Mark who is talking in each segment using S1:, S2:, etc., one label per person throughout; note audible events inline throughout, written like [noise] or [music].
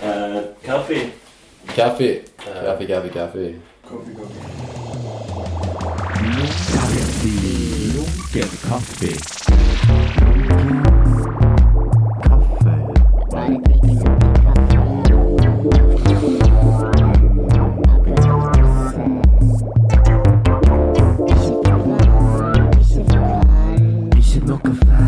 S1: Äh, Kaffee.
S2: Kaffee. Kaffee, Kaffee, Kaffee.
S1: Kaffee, Kaffee.
S3: Kaffee. Ich hab noch gefasst.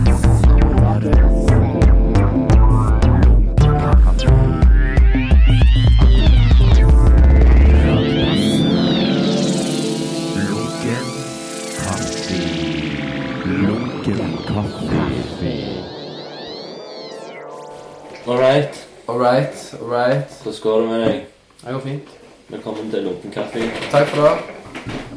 S1: Alright,
S2: Alright, alright.
S1: hvordan går det med deg?
S2: Det går fint.
S1: Velkommen til Lunken kaffe.
S2: Takk for det.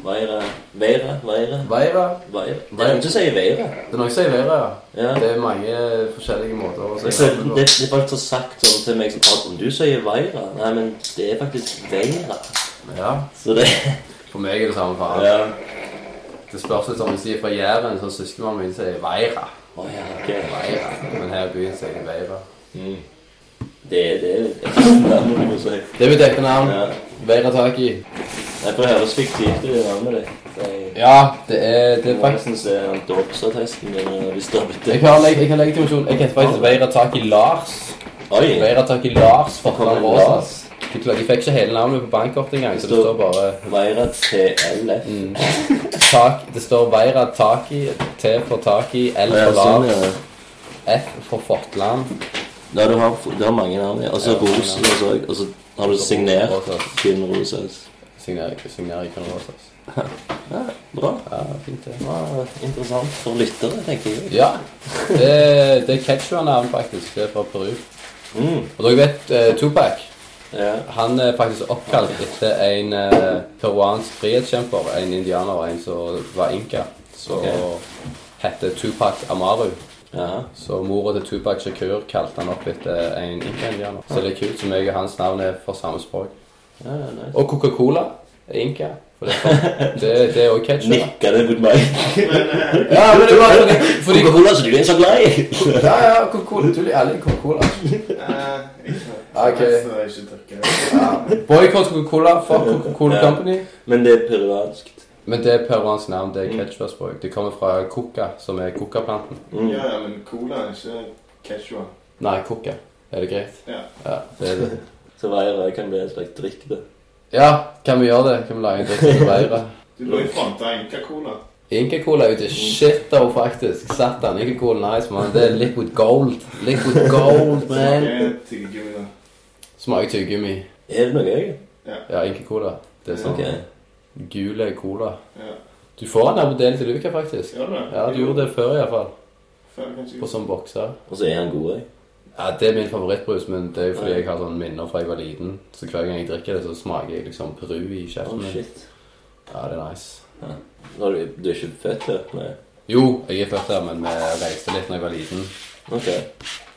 S1: Veire, veire, veire,
S2: Veira.
S1: veire. Det er noen som sier veire.
S2: Det er noen som sier veira, ja.
S1: Ja.
S2: Det er mange forskjellige måter å
S1: Jeg
S2: si
S1: føler,
S2: det
S1: det,
S2: på.
S1: det er folk som har sagt sånn til meg som ah, om du sier veire. Nei, men det er faktisk veire.
S2: Ja.
S1: Så det
S2: For meg er det samme faen.
S1: Ja.
S2: Det spørs litt om hvis de er fra Jæren, så søskenbarnet mitt sier veira.
S1: Å ja, ok.
S2: Veira. Men her i byen sier de veira.
S1: Mm. Det er det navnet du må si.
S2: Det er mitt ekte navn.
S1: Ja.
S2: Veira Taki.
S1: Nei, for det høres fiktivt ut, det navnet ditt. Jeg-
S2: Ja, det er, det
S1: Jeg
S2: er
S1: bare
S2: faktisk
S1: syns det er en dåpsattesten din eh, hvis du har blitt
S2: Jeg
S1: det.
S2: har, leg jeg har legitimasjon. Jeg heter faktisk Veira Taki Lars.
S1: Oi!
S2: Veira Taki Lars fra
S1: Kommer
S2: Rosas. De kla- de fikk ikke hele navnet på bankkortet engang, så det står bare
S1: Veira TLF.
S2: Mm. tak, Det står Veira Taki, T for Taki, L
S1: Ja,
S2: for
S1: sånn,
S2: Lars,
S1: ja.
S2: F for Fortland.
S1: Ja, du har, du har mange navn, ja. Og så
S2: Ja, mange
S1: Rosas også. Og så har du signert
S2: Rosas.
S1: Kinn Rosas.
S2: Signerer signerer ikke noe Rosas.
S1: Bra.
S2: Ja, fint det.
S1: Ja, interessant for lyttere, tenker jeg.
S2: Ja. Det, det er Quechua-navn, faktisk. Det er fra Peru.
S1: Mm.
S2: Og dere vet eh, Tupac.
S1: Ja.
S2: Han er faktisk oppkalt etter en eh, peruansk frihetskjemper, en indianer, en som var inka. Så
S1: Ok.
S2: hette Tupac Amaru.
S1: Jaha.
S2: Så mora til Tupac Shakur kalte han opp etter en inka-indianer. Så det er kult, som jeg og hans navn er for samme språk.
S1: Ja, ja, nice.
S2: Og Coca-Cola er inka. for Det er fra- det- det er òg ketchup.
S1: Nikker det mot [laughs] meg?
S2: Ja, men det var fordi, fordi
S1: Coca-Cola, så du er så glad i!
S2: Ja, ja, Coca-Cola. Du liker Coca-Cola.
S4: Eh,
S2: Ok. Boikott Coca-Cola. Fuck Coca-Cola
S1: Ja.
S2: Company.
S1: [laughs] Men det er peruansk.
S2: Men det er peruansk navn, det er quechua-språk. Det kommer fra coca, som er coca-planten.
S1: Mm.
S4: Ja, ja, men cola er ikke Quechua.
S2: Nei, coca. Er det greit?
S4: Ja.
S2: Ja, det er det.
S1: Så veira kan bli en slags drikk, det.
S2: ja kan vi gjøre det? Kan vi lage en drikk til Veira?
S4: Du lå i front av Inca-cola.
S2: Inca-cola er ute. Shit, though, faktisk. Satan, Inca-cola nice, mann. Det er liquid gold. Liquid
S1: [laughs]
S2: gold, man.
S4: Smaker tyggegummi, da.
S2: Smaker tyggegummi.
S1: Er det noe gøy?
S2: Ja, Inca-cola. Det er sånn
S1: Ok.
S2: gule cola.
S4: Ja.
S2: Du får den her på delen til Luca, faktisk.
S4: Gjør du det?
S2: Ja, du gjorde det før, iallfall.
S4: Før, kanskje.
S2: På sånn bokser.
S1: Og så er han god, jeg.
S2: Ja, Det er min favorittbrus, men det er jo fordi jeg har sånn minner fra jeg var liten. Så hver gang jeg drikker det, så smaker jeg liksom Peru i
S1: Oh,
S2: kjeften. min.
S1: shit.
S2: ja, det er nice.
S1: Nå, er du, du er ikke født her? Nei.
S2: Jo, jeg er født der, men vi reiste litt når jeg var liten.
S1: Ok.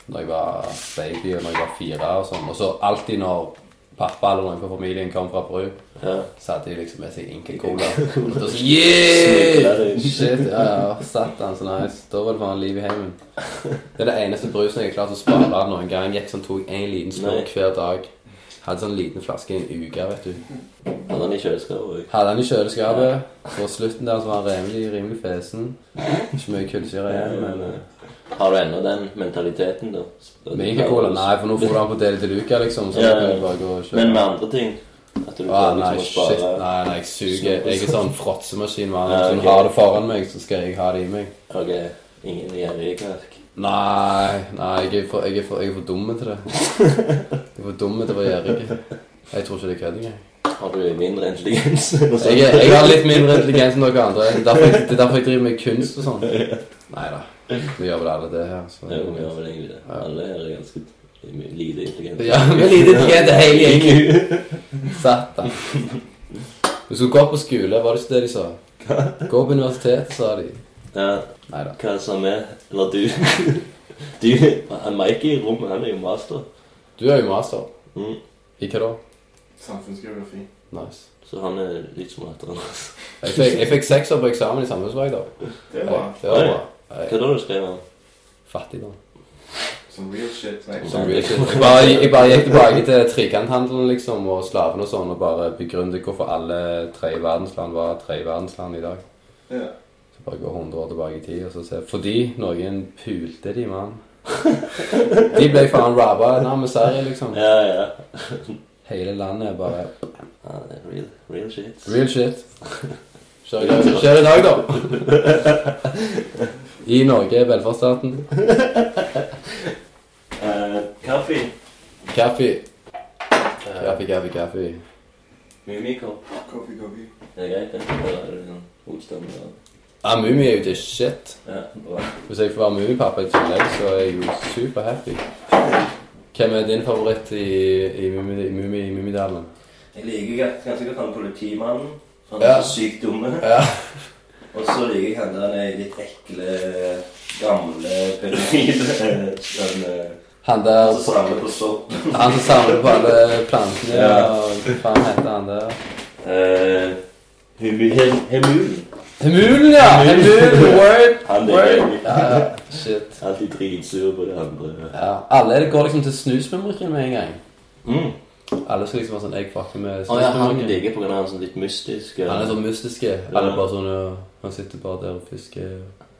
S2: Når jeg var baby, og når jeg var fire og sånn. Og så alltid når pappa eller noen fra familien kom fra Peru,
S1: Ja.
S2: så hadde de liksom med seg
S1: [laughs]
S2: Inca-cola. Og da så Yeah! Shit, ja, ja. Satan, så nice. Da var det bare liv i heimen. Det er det eneste brusen jeg har klart å spare noen gang. Gikk sånn, tok en liten
S1: Nei.
S2: slurk hver dag. Hadde sånn liten flaske i en uke, vet du.
S1: Han er i kjøleskapet òg.
S2: Hadde den i kjøleskapet. På slutten der så var han rimelig, rimelig fesen. Ikke mye kullsyre igjen, men eh,
S1: Har du ennå den mentaliteten, da?
S2: Med Inca-cola? Nei, for nå får du den på Deli de Luca, liksom. Så
S1: Ja, ja.
S2: ja, kan du bare gå og kjøpe.
S1: Men med andre ting? At du
S2: ah,
S1: prøver
S2: nei,
S1: liksom å
S2: shit.
S1: spare
S2: Nei, nei, jeg suger. Jeg er sånn fråtsemaskin. mann.
S1: Ja,
S2: Hvis
S1: ok.
S2: hun har det foran meg, så skal jeg ha det i meg.
S1: Ok, ingen gjerrige knark.
S2: Nei, nei, jeg er for, jeg er for, jeg er for dumme
S1: [laughs]
S2: til det. Jeg er for dumme til å være gjerrig. Jeg tror ikke det er kødd engang.
S1: Har du mindre
S2: [laughs]
S1: intelligens? enn oss
S2: Jeg, er-
S1: andre?
S2: jeg har litt mindre intelligens enn dere andre. Det er derfor jeg, det er derfor jeg driver med kunst og sånn. Nei da. Vi gjør vel alle det her. Så.
S1: Jo, vi har vel egentlig det.
S2: Ja.
S1: Alle her er ganske lite intelligente.
S2: Ja, vi er lite intelligente hele gjengen. Satan. Du skulle gå på skole, var det ikke det de sa? Gå på universitet, sa de.
S1: Ja,
S2: Nei da.
S1: hva sa vi? Eller du? [laughs] Du, han Mikey i rommet, han er jo master.
S2: Du er jo master.
S1: Mm.
S2: I hva da?
S4: Samfunnsgeografi.
S2: Nice.
S1: Så han er litt smartere enn oss.
S2: Jeg fikk, jeg fikk seks år på eksamen i samfunnsfag, da.
S4: Det
S2: Det
S4: er bra.
S2: var bra.
S1: Hva da du skrev han?
S2: Fattigdom.
S4: Some real shit. Like,
S2: Som real shit. Jeg [laughs] bare, jeg bare gikk tilbake til trekanthandelen liksom, og slavene og sånn, og bare begrunnet hvorfor alle tre verdensland var tre verdensland i dag.
S4: Ja.
S2: Så bare gå 100 år tilbake i tid og så se Fordi noen pulte de, mann.
S4: [laughs]
S2: De ble faen rabba en amissari, liksom.
S1: Ja, ja.
S2: Hele landet er bare
S1: ja det er real, real shit.
S2: real [laughs] shit. Skjer i dag, skjer i dag, da. I Norge er velferdsstaten.
S1: Eh, kaffe.
S2: Kaffe,
S1: Eh,
S2: kaffe, kaffe. kaffe.
S1: Mumiko.
S4: Coffee, coffee.
S1: Er det greit? det? Eller er det sånn motstand? og-
S2: Ah, Mummi er jo the shit.
S1: Ja, bra.
S2: Hvis jeg får være Mummipappa i tillegg, så er jeg jo superhappy. Hvem er din favoritt i, i Mummi- i Mummi- i Mummidalen?
S1: Jeg liker ga- ganske godt han politimannen. for Han er
S2: Ja.
S1: så sykt dumme.
S2: Ja.
S1: Og så liker jeg han der nede, litt ekle, gamle [laughs] pedofile. Den, eh,
S2: Han der
S1: som samler på sopp.
S2: Han som samler på alle plantene
S1: Ja.
S2: og hva faen heter han der?
S1: Eh, Hemu- Hem- Hemulen.
S2: Hemulen, ja! Hemulen, word!
S1: Han der
S2: word.
S1: er
S2: Ja, ja. Shit.
S1: alltid dritsur på det andre.
S2: Ja. Alle går liksom til snusmumrikken med en gang.
S1: Mm.
S2: Alle skal liksom være sånn Jeg fucker med
S1: Å ja, han
S2: snusmumrikken.
S1: ligger på grunn av han sånn litt mystisk. eh,
S2: Han er sånn mystiske. Alle bare sånn ja, Han sitter bare der og fisker.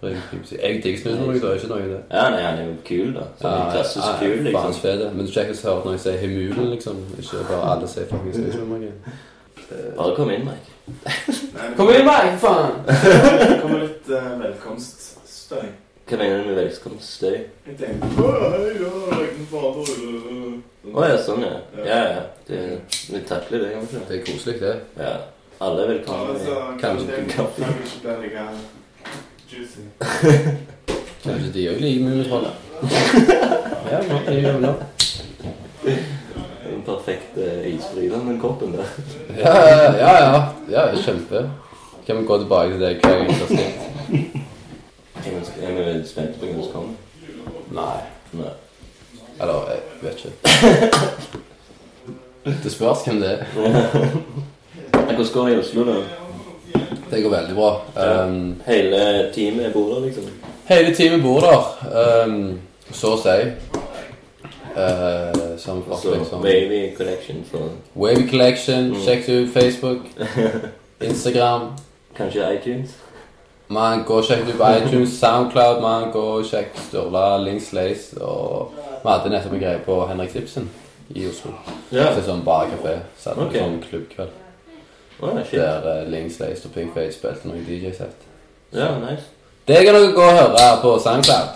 S2: røyker. Jeg digger snusmumrikken, det er ikke noe i det.
S1: Ja, nei, han er jo kul, da. Sånn klassisk kul,
S2: Faen
S1: liksom.
S2: fede. Men du skal ikke høre når jeg sier Hemulen, liksom. Ikke bare alle sier fucking snusmumrikken.
S1: Bare kom inn, Mike.
S4: Nei,
S2: [laughs]
S4: det
S2: Kom inn, meg, faen! [laughs]
S4: det kommer litt eh, velkomststøy.
S1: Hva mener du med velkomststøy?
S4: Jeg tenker «Å, hei, ja, liten fader.
S1: Å ja, sånn, ja. Ja, ja. Det, vi takler det, kan vi ikke?
S2: Det er koselig, det.
S1: Ja. Alle er
S4: Ja,
S1: velkomne.
S4: altså,
S2: Kanskje
S4: kanskje det
S1: kaffe.
S4: kan ikke bli like juicy.
S2: Kanskje de òg liker Mummitrollet. [laughs] Ja, nå, det gjør vi nå.
S1: Den perfekte isbryteren, den koppen der.
S2: Ja, ja, ja. ja. ja kjempe. Kan vi gå tilbake til det hver gang det skjer?
S1: Jeg er- jeg er veldig spent på hva som kommer.
S2: Nei.
S1: Nei.
S2: Eller, jeg vet ikke. Det spørs hvem det er.
S1: Men Hvordan går det i Oslo, da?
S2: Det går veldig bra. Um,
S1: Hele teamet bor der, liksom?
S2: hele teamet bor der, um, så å si. Uh, Samme
S1: Og
S2: fart,
S1: så
S2: liksom.
S1: Altså, Wavy Connection for
S2: Wavy Collection,
S1: Mm.
S2: sjekk det ut. Facebook, Instagram.
S1: kanskje iTunes?
S2: Man går og sjekker ut på iTunes, Soundcloud, man går og sjekker Sturla, Links Lace og Vi hadde nettopp en greie på Henrik Ibsen i Oslo. Til sånn barkafé. Satt på
S1: Ok.
S2: sånn klubbkveld
S1: Å, ja, shit.
S2: der eh, Links Lace og Pink Face spilte noen DJ-sett.
S1: Ja, nice.
S2: Det kan dere gå og høre på Soundcloud.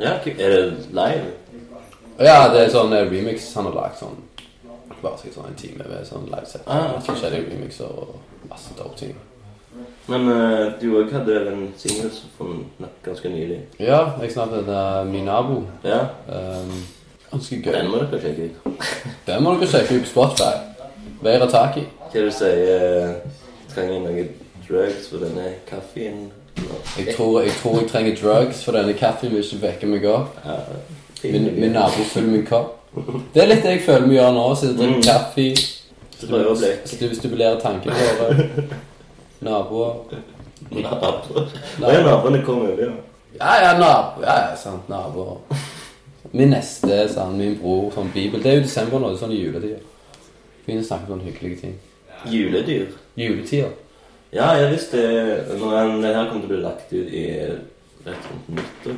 S1: Ja, ku- er det live?
S2: Og ja, det er sånn eh, remix han har lagd sånn bare sikkert sånn en time med sånn livesett.
S1: Ah, ok.
S2: Forskjellige remixer og masse dope ting.
S1: Men eh, du òg hadde vel en singel som kom nok ganske nylig?
S2: Ja, jeg snakket med eh, min nabo.
S1: Ja,
S2: Um, ganske gøy.
S1: den må dere sjekke ut.
S2: Den må dere sjekke ut på Spotify. Veira Taki.
S1: Hva er det du sier? eh, Trenger noe drugs for denne kaffen?
S2: Jeg tror, jeg tror jeg trenger drugs, for denne kaffen vil ikke vekke meg opp.
S1: Ja,
S2: Min, min nabo fyller min kopp. Det er litt det jeg føler vi gjør nå. Sitter og drikker
S1: Mm.
S2: kaffe.
S1: Så prøver å bli-
S2: stu- Stimulerer tankene
S1: [laughs]
S2: våre. Naboer.
S1: Naboer.
S2: Nei.
S1: Nei, naboene kommer over, ja.
S2: Ja, ja, nabo. Ja, ja, sant. Naboer. Min neste, sant. Min bror. Sånn bibel. Det er jo desember nå. Det er sånn i juletida. Begynner å snakke om sånne hyggelige ting.
S1: Juledyr.
S2: Juletida.
S1: Ja, jeg visste det. Når den det her kom til å bli lagt ut i rett rundt nyttår.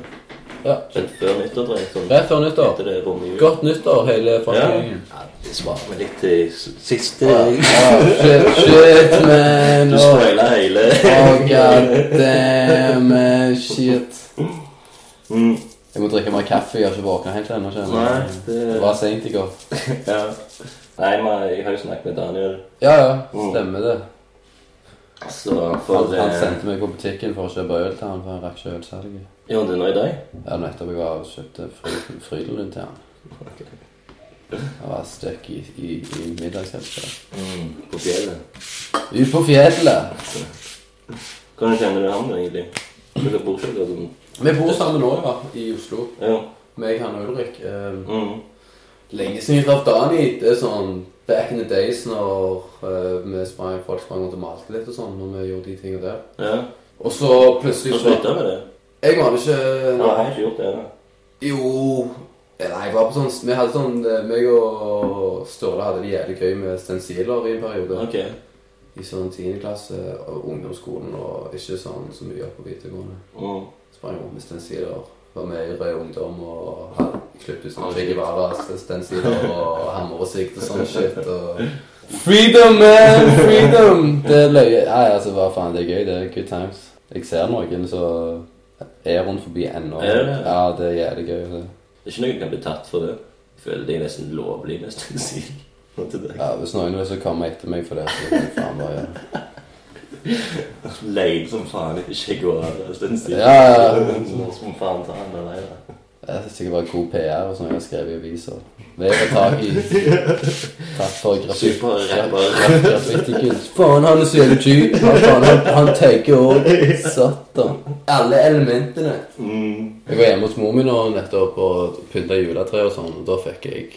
S2: Ja.
S1: Rett før nyttår, tror jeg. Sånn,
S2: Rett før nyttår.
S1: Etter det rommet jul.
S2: Godt nyttår, hele folkegjengen.
S1: Ja, det svarer meg litt til s- siste.
S2: Oh, shit, shit, man.
S1: Du
S2: Oh,
S1: spoiler hele.
S2: oh god damn, man, shit.
S1: Mm,
S2: Jeg må drikke mer kaffe. Jeg har ikke våkna helt ennå. kjenner jeg.
S1: nei,
S2: Det
S1: det
S2: var seint i går.
S1: ja. Nei, men jeg har jo snakket med Daniel,
S2: Ja, ja.
S1: Mm.
S2: Stemmer det.
S1: så
S2: Han,
S1: for
S2: han
S1: eh,
S2: sendte meg på butikken for å kjøpe øl til han, for han rakk ikke ølsalget.
S1: Gjorde du noe i dag?
S2: Ja, nettopp jeg var og kjøpte Fry- Frydenlund til han. Han var stuck i, i, i middagshelsa.
S1: Mm, på fjellet.
S2: Ut på fjellet!
S1: Hvordan kjenner du ham, egentlig? Dere bor ikke akkurat sånn
S2: Vi bor sammen nå, ja. I Oslo.
S1: Ja.
S2: Meg, han og Ulrik. Um,
S1: Mm.
S2: Lenge siden jeg traff Dani. Det er sånn back in the days når eh, vi sprang, folk sprang rundt og malte litt og sånn. Når vi gjorde de tingene der.
S1: Ja.
S2: Og så plutselig
S1: Så
S2: så
S1: slutta med det?
S2: Jeg var det ikke
S1: Nei, jeg har ikke gjort det. da.
S2: Jo Ja, Nei, jeg var på sånn Vi hadde sånn eh, meg og Ståle hadde det jævlig gøy med stensiler i en periode.
S1: Ok.
S2: I sånn 10. klasse og ungdomsskolen og ikke sånn så mye opp på videregående.
S1: Mm.
S2: Sprang rundt med stensiler. Var med i Rød Ungdom og hadde klippet ut sånne Viggy Vara-stensiler og hammer og sikt og sånn shit. Og freedom, man! Freedom! Det er løye. Nei, altså, hva faen, det er gøy. Det er good times. Jeg ser noen som er rundt forbi ennå.
S1: Er det?
S2: Ja, det er jævlig gøy. altså. Det.
S1: Det er ikke noe jeg kan bli tatt for det. Jeg føler det er nesten lovlig, nesten. siden. Til det.
S2: Ja, hvis noen vil så komme etter meg for det, så kan jeg faen bare gjøre det.
S1: Leid som faen ikke jeg går av det. Den siden.
S2: Ja, ja, ja.
S1: Nå skal man faen ta han alene.
S2: Jeg synes sikkert bare god PR og sånn jeg har skrevet i aviser. Det er å ta i Takk for grafitt.
S1: Superrapper.
S2: Graffitikunst. Faen, han er så jævlig tjukk. Han, faen, han, han tøyker òg. Satan. Alle elementene.
S1: Mm.
S2: Jeg var hjemme hos mor mi nå nettopp og pynta juletre og sånn, og da fikk jeg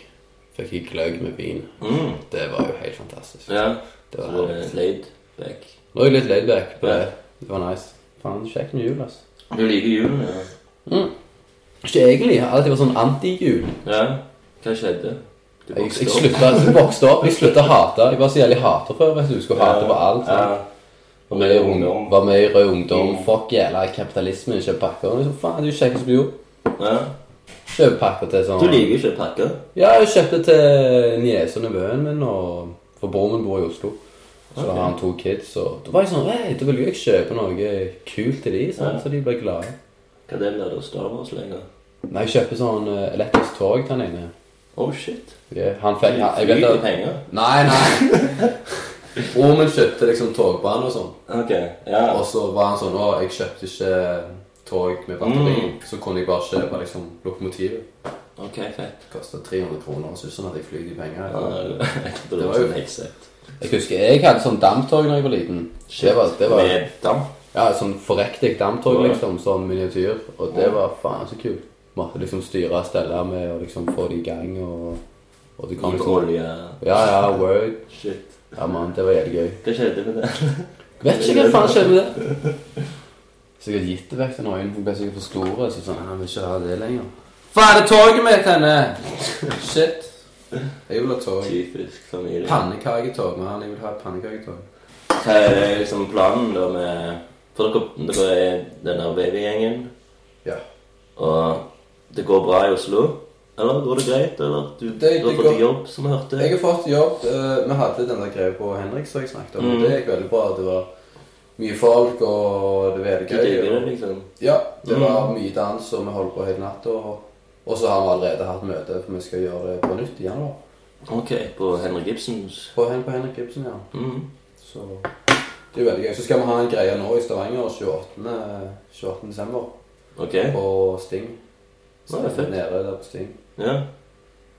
S2: Fikk jeg gløgg med vin.
S1: Mm.
S2: Det var jo helt fantastisk.
S1: Ja.
S2: Det
S1: Så
S2: var
S1: var det
S2: nice.
S1: laid back.
S2: Nå er jeg litt laid back på det. Det var nice. Faen, kjekt med jul, altså.
S1: Du liker julen, ja?
S2: Ikke egentlig. Jeg har alltid vært sånn anti-jul.
S1: Ja. Hva skjedde? Du
S2: Jeg,
S1: vokste
S2: jeg
S1: opp.
S2: slutta jeg vokste opp, jeg slutta å hate. Jeg var så jævlig hater før. vet Du Du skulle hate på alt.
S1: Ja. Mm.
S2: sant? Var med i ungdom. Var med i Rød Ungdom. Fuck jævla kapitalismen, kjøp pakker. Liksom, faen, du kjekk som du gjorde.
S1: Ja.
S2: Kjøp pakker til sånn
S1: Du liker ikke pakker?
S2: Ja, jeg kjøpte til niese og nevøen min, og for broren min bor i Oslo. Så da har han to kids, og da var jeg sånn Hei, da vil jo jeg kjøpe noe kult til de, sant? så de blir glade.
S1: Hva er det med det Star Wars lenger?
S2: Nei, jeg kjøper sånn eh, elektrisk tog til han ene.
S1: Oh shit.
S2: Ja, Han fikk
S1: Fly-
S2: jeg
S1: fly
S2: vet
S1: til
S2: at,
S1: penger?
S2: Nei, nei. Broren min kjøpte liksom togbane og sånn.
S1: Ok, ja.
S2: Og så var han sånn Å, jeg kjøpte ikke tog med batteri.
S1: Mm.
S2: Så kunne jeg bare kjøpe liksom, lokomotivet.
S1: Ok, fett.
S2: Det kostet 300 kroner. Så sånn at jeg fløy de penger.
S1: Ja, [laughs] det
S2: Det
S1: var
S2: var jo-
S1: sånn headset.
S2: Jeg husker jeg hadde sånn damptog da jeg var liten. Det var, det var
S1: Med damp.
S2: ja, sånn forrektig damptog,
S1: Ja.
S2: liksom. Sånn miniatyr. Og det var faen så kult. Måtte liksom styre og stelle med og liksom få det i gang og Og det kom
S1: Kom
S2: liksom
S1: olje.
S2: Ja, ja, word.
S1: Shit.
S2: Ja, mann, det var jævlig gøy.
S1: Hva skjedde [laughs] med det?
S2: Vet ikke hva faen skjedde med det. [laughs] Sikkert gitt det vekk til noen. Hun ble sikkert for store. Så sånn, han vil ikke ha det lenger. Faen, det er toget mitt, henne! Shit. Jeg vil ha tog.
S1: Typisk sånn familie.
S2: Pannekaketog, mann. Jeg vil ha pannekaketog.
S1: Hva er liksom planen da med For dere, dere er den der babygjengen,
S2: Ja.
S1: og det går bra i Oslo? Eller går det greit? Eller du,
S2: Det-
S1: du har
S2: det
S1: fått
S2: går-
S1: jobb, som jeg hørte?
S2: Jeg har fått jobb. eh, Vi hadde den der greia på Henrik som jeg snakket om.
S1: Mm.
S2: Det gikk veldig bra. Det var mye folk, og det var
S1: Du digger det,
S2: veldig gøy. og-
S1: liksom?
S2: Ja, det
S1: Mm.
S2: var mye dans, og vi holdt på hele natta. Og, og så har vi allerede hatt møte, for vi skal gjøre det på nytt i januar.
S1: Ok, på Henrik Ibsens
S2: På, Hen- på Henrik Ibsen, ja.
S1: mm.
S2: Så det er veldig gøy. Så skal vi ha en greie nå i Stavanger 28. 28. desember
S1: Ok.
S2: på Sting.
S1: Ja, det er fett.
S2: Nede der på Sting.
S1: Ja.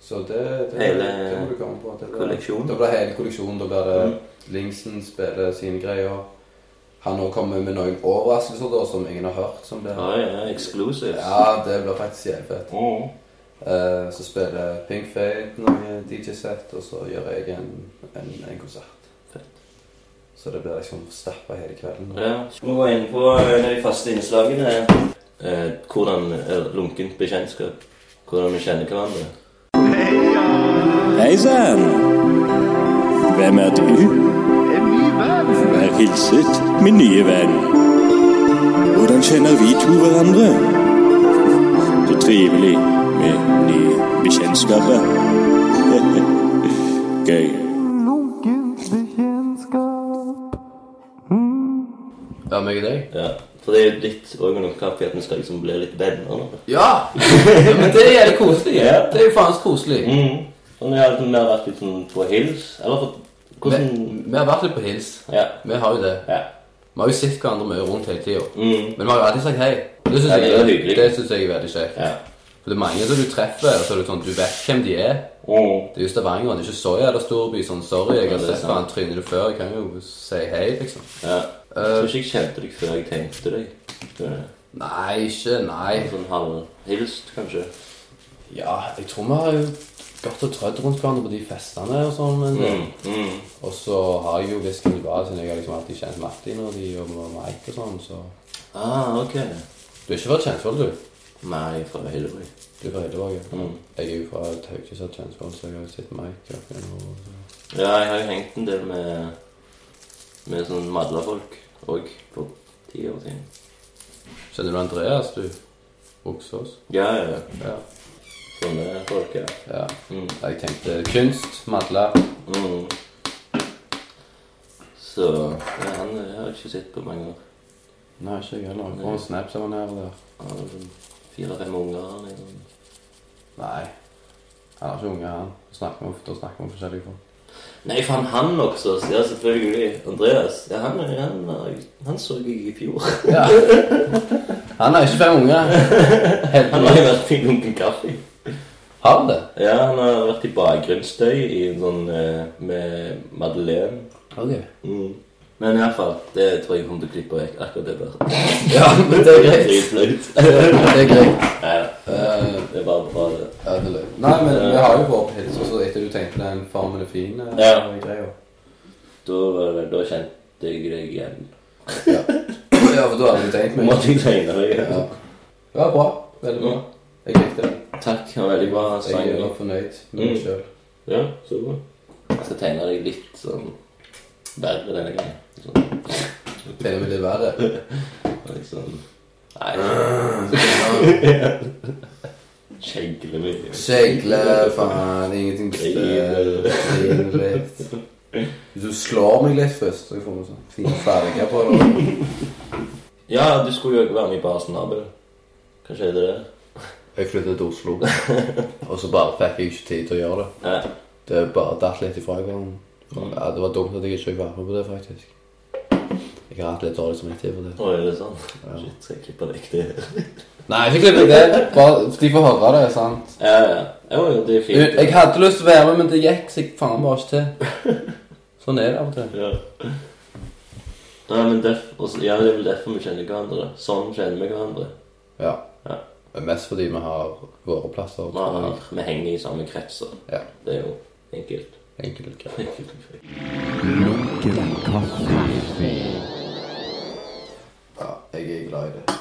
S2: Så det, det,
S1: Hele
S2: det må du komme på. Det blir-
S1: kolleksjonen.
S2: Da blir det hele kolleksjonen. Da blir
S1: Mm.
S2: det Lingsen spiller sine greier. Han nå kommer med noen overraskelser da, som ingen har hørt. som det.
S1: Ja, ja, exclusive.
S2: Ja, det blir faktisk jævlig fett.
S1: Mm.
S2: Eh, så spiller Pink Fade noen DJ-sett, og så gjør jeg en, en, en konsert.
S1: Fett.
S2: Så det blir liksom stappa hele kvelden.
S1: ja.
S5: Vi var inne på en av de faste innslagene.
S1: Eh, hvordan er lunkent bekjentskap? Hvordan vi kjenner hverandre?
S6: Hei sann! Hvem er du? En ny venn. Vær hilset, min nye venn. Hvordan kjenner vi to hverandre? Så trivelig med nye bekjentskaper. [laughs] Gøy.
S2: Ja, meg og deg?
S1: Ja. For det er jo litt òg en oppgave at vi skal liksom bli litt venner. da. [laughs]
S2: Ja! Men det er jævlig koselig. Det er jo faen så koselig.
S1: Mm. Og vi har liksom mer vært litt sånn på hils. Eller for hvordan
S2: Vi, vi har vært litt på hils.
S1: Ja.
S2: Vi har jo det.
S1: ja.
S2: Vi har jo sett hverandre mye rundt hele tida.
S1: Mm.
S2: Men vi har jo alltid sagt hei. Det syns
S1: Ja,
S2: jeg,
S1: det er hyggelig.
S2: det synes jeg er veldig kjekt.
S1: ja.
S2: For det er mange som du treffer, og så er det sånn, du vet hvem de er.
S1: Mm.
S2: Det er jo Stavanger, det er ikke så jævla storby. Sånn, sorry, jeg
S1: Ja,
S2: har
S1: det er
S2: sett
S1: sant.
S2: faen trynet ditt før. Jeg kan jo si hei, liksom.
S1: ja. Jeg tror ikke jeg kjente deg før jeg tenkte deg. Det er
S2: Nei, ikke nei.
S1: Sånn halvhilst, kanskje.
S2: Ja, jeg tror vi har jo gått og trødd rundt hverandre på de festene og sånn. Men
S1: Mm. Mm.
S2: Og så har jeg jo visst hvem de var, siden jeg har liksom alltid kjent Martin og de og Mike og sånn, så
S1: Ah, ok.
S2: Du har ikke vært kjent for det, du?
S1: Nei, fra Hillary.
S2: Du er fra Høydevåg? ja.
S1: Mm.
S2: Jeg er jo fra Tauke, så Tjønsvoll, så jeg har jo sett Mike opp gjennom og så.
S1: Ja, jeg har jo hengt en del med, med sånn madlafolk òg for ti år siden.
S2: Kjenner du Andreas, du? Oksås?
S1: Ja, ja.
S2: Ja.
S1: Sånne folk, ja.
S2: ja.
S1: Mm.
S2: Jeg tenkte kunst, madla.
S1: Mm. Så ja, han eh, har jeg ikke sett på mange år.
S2: Nei, ikke jeg heller.
S1: Nei.
S2: På en snap som han her og der.
S1: Han har sånn fire-fem unger. Liksom.
S2: Nei. Han har ikke unge, han. Snakker med ofte og snakker med forskjellige folk.
S1: Nei, faen, han også. Ja, selvfølgelig. Andreas. Ja, han, han, han så jeg i fjor. [laughs]
S2: Ja. [laughs] Han har ikke fem [laughs] unger.
S1: Han har
S2: Heldigvis.
S1: jo vært i Lunken Kaffe.
S2: Har han det?
S1: Ja, han har vært i bakgrunnsstøy i en sånn eh, med Madeleine.
S2: Ok.
S1: Mm. Men iallfall, det tror jeg kommer til å klippe vekk akkurat det der.
S2: Ja, men det er greit.
S1: [laughs] dritflaut.
S2: Det er greit.
S1: Nei da.
S2: Eh,
S1: Det er bare bra, det.
S2: ja, det er løgn. Nei, men vi har jo vår pils, og så etter du tenkte den formen er fin eh,
S1: Ja.
S2: greia.
S1: Da, var det- da kjente jeg deg igjen.
S2: Ja, for du har aldri tenkt
S1: Nå
S2: meg.
S1: måtte jeg tegne deg.
S2: Ja. Det var bra. Veldig bra. Jeg likte det.
S1: Takk. Han var veldig bra Mm. sang.
S2: Jeg var fornøyd
S1: Mm.
S2: med meg sjøl.
S1: Ja, så bra. Jeg skal tegne deg litt sånn verre denne gangen. Sånn,
S2: Det er vel litt verre.
S1: liksom [laughs] Nei. Kjegle mye.
S2: Kjegle, faen, ingenting bestiller. Griner litt. Hvis du slår meg litt først, så jeg får meg sånn fine farger på det.
S1: Ja, du skulle jo ikke være med i Basen Abel. Hva skjedde der?
S2: Jeg flyttet til [laughs] Oslo, og så bare fikk jeg ikke tid til å gjøre det.
S1: Nei.
S2: Det bare datt litt ifra hverandre. Ja, det var dumt at jeg ikke fikk være med på det, faktisk. Jeg har hatt litt dårlig samvittighet for det.
S1: Å, er det sånn?
S2: Ja.
S1: Shit, skal jeg klippe vekk det?
S2: Nei, ikke klipp vekk det. Bare, de får høre det, sant?
S1: Ja, ja. Jo, jo, det er fint.
S2: Jeg hadde lyst til å være med, men det gikk så jeg faen bare ikke til. [laughs] Sånn er det av og til.
S1: Ja. Nei, men derf, også, ja, det er vel derfor vi kjenner hverandre. da. Sånn kjenner vi hverandre.
S2: Ja.
S1: Ja.
S2: Men Mest fordi vi har våre plasser.
S1: Vi, har, vi henger i samme kretser.
S2: Ja.
S1: Det er jo enkelt.
S2: Enkelt greit.
S1: [laughs] enkelt.
S3: Lunken kaffe.
S2: Ja, jeg er glad i det.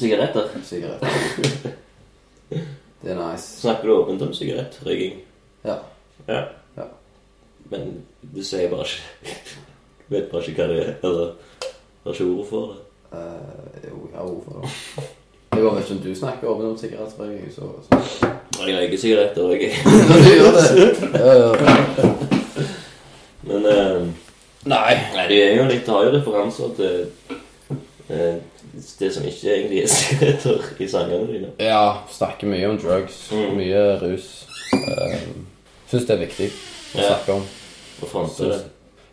S1: Sigaretter.
S2: Sigarett. [laughs] Det er nice.
S1: Snakker du åpent om sigarettrøyking?
S2: Ja.
S1: Ja.
S2: Ja.
S1: Men du sier bare ikke [laughs] Du vet bare ikke hva det er. Eller har ikke ord for det.
S2: Eh, jo, jeg har ord for det. Jeg vet ikke om du snakker åpent om sigarettrøyking, så, så.
S1: Og Jeg røyker sigaretter òg, jeg. [laughs]
S2: Du gjør det. Ja, ja.
S1: Men eh,
S2: Nei.
S1: Nei, det er jo litt har jo referanser til eh, det som ikke egentlig er [laughs] sigaretter i sangene dine.
S2: Ja, snakker mye om drugs,
S1: Mm.
S2: mye rus. Uh, Syns det er viktig å
S1: Ja.
S2: snakke om.
S1: Og fronter det.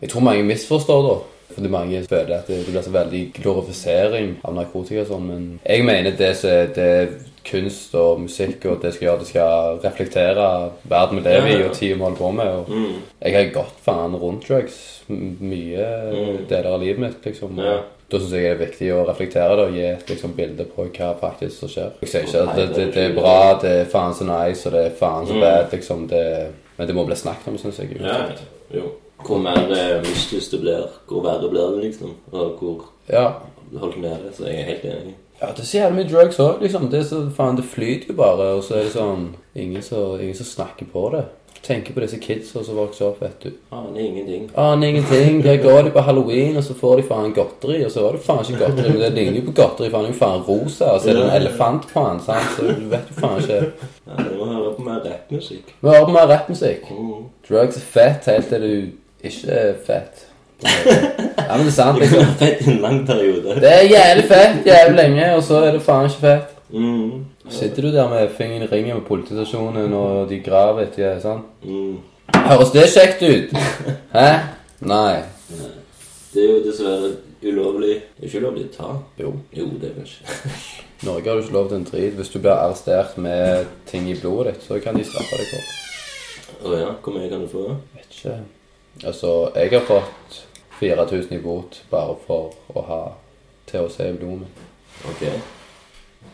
S2: Jeg tror mange misforstår da. Fordi mange føler at det det blir så veldig glorifisering av narkotika og sånn, men jeg mener det som er det er kunst og musikk og det skal gjøre, det skal reflektere verden vi lever i og tida vi holder på med. og
S1: Mm.
S2: Jeg har gått faen rundt drugs m- mye
S1: Mm.
S2: deler av livet mitt, liksom. og
S1: Ja.
S2: Da syns jeg det er viktig å reflektere det og gi et liksom, bilde på hva faktisk som skjer. Jeg sier ikke at det, det, det er bra, det er faen så nice og det er faen så
S1: Mm.
S2: bad, liksom. Det, men det må bli snakket om, syns jeg.
S1: Ja,
S2: uansett.
S1: jo. Hvor mer eh, mislyst det blir, hvor verre blir det, liksom. Og hvor
S2: ja.
S1: holdt nede. Så jeg er helt enig.
S2: Ja, det er så jævlig mye drugs òg, liksom. Det er så, faen, det flyter jo bare, og så er det sånn Ingen som ingen som snakker på det. Tenker på disse kidsa som vokser opp, vet du.
S1: Aner ingenting.
S2: Aner ingenting. Der går de på halloween, og så får de faen godteri, og så var det faen ikke godteri, men det ligner jo på godteri, faen, det er jo faen rosa, og så er det en elefant på den, sant, så du vet jo faen ikke.
S1: Ja, du må høre på mer rappmusikk.
S2: Vi hører på mer rappmusikk.
S1: Mm.
S2: Drugs er fett helt til du ikke er fett. Ja, men det er sant,
S1: Det kan
S2: liksom.
S1: være fett i en lang periode.
S2: Det er jævlig fett jævlig lenge, og så er det faen ikke fett.
S1: Mm.
S2: Sitter du der med fingeren i ringen med politistasjonen, og de graver etter deg, sant?
S1: Mm.
S2: Høres det kjekt ut? Hæ? Nei.
S1: Det er jo dessverre ulovlig. Det er ikke ulovlig å ta.
S2: Jo.
S1: Jo, det er det ikke.
S2: Norge har du ikke lov til en drit. Hvis du blir arrestert med ting i blodet ditt, så kan de straffe deg for det.
S1: Å ja, hvor mye kan du få?
S2: Vet ikke. Altså, jeg har fått 4000 i bot bare for å ha THC i blodet mitt.
S1: Ok.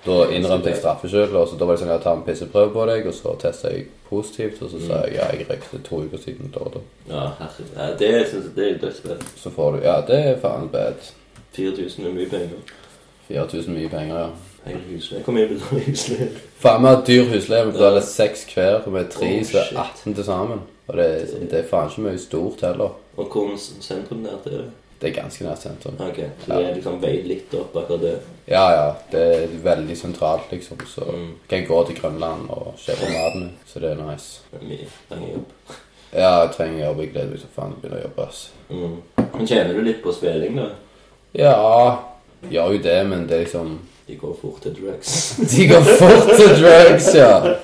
S2: Da innrømte jeg straffskyld, og så da var det sånn at jeg tar en pisseprøve på deg, og så testa jeg positivt, og så sa jeg ja, jeg røykte to uker siden da og da.
S1: Ja, herregud. Ja, det synes jeg det er dødsfett.
S2: Så får du Ja, det er faen bad.
S1: 4000 er mye penger.
S2: 4000 mye penger, ja.
S1: Hele husleie. Hvor mye betaler husleie?
S2: Faen, vi har dyr husleie. Vi betaler seks hver, og vi er tre,
S1: Oh,
S2: så
S1: shit.
S2: er 18 til sammen. Og det, er- det er faen ikke mye stort heller.
S1: Og hvor sentrum nært er det?
S2: Det er ganske nært sentrum.
S1: Ok, så det er liksom veid litt opp akkurat det.
S2: Ja, ja. Det er veldig sentralt, liksom. Så
S1: Mm.
S2: kan jeg gå til Grønland og kjøpe maten min. Så det er nice.
S1: Det er mye lang jobb.
S2: Ja, jeg trenger jobb. Jeg gleder meg til faen til å begynne å jobbe. ass.
S1: Mm. Men tjener du litt på spilling, da?
S2: Ja, gjør jo det, men det er liksom [laughs]
S1: De går fort til drugs.
S2: De går fort til drugs, ja.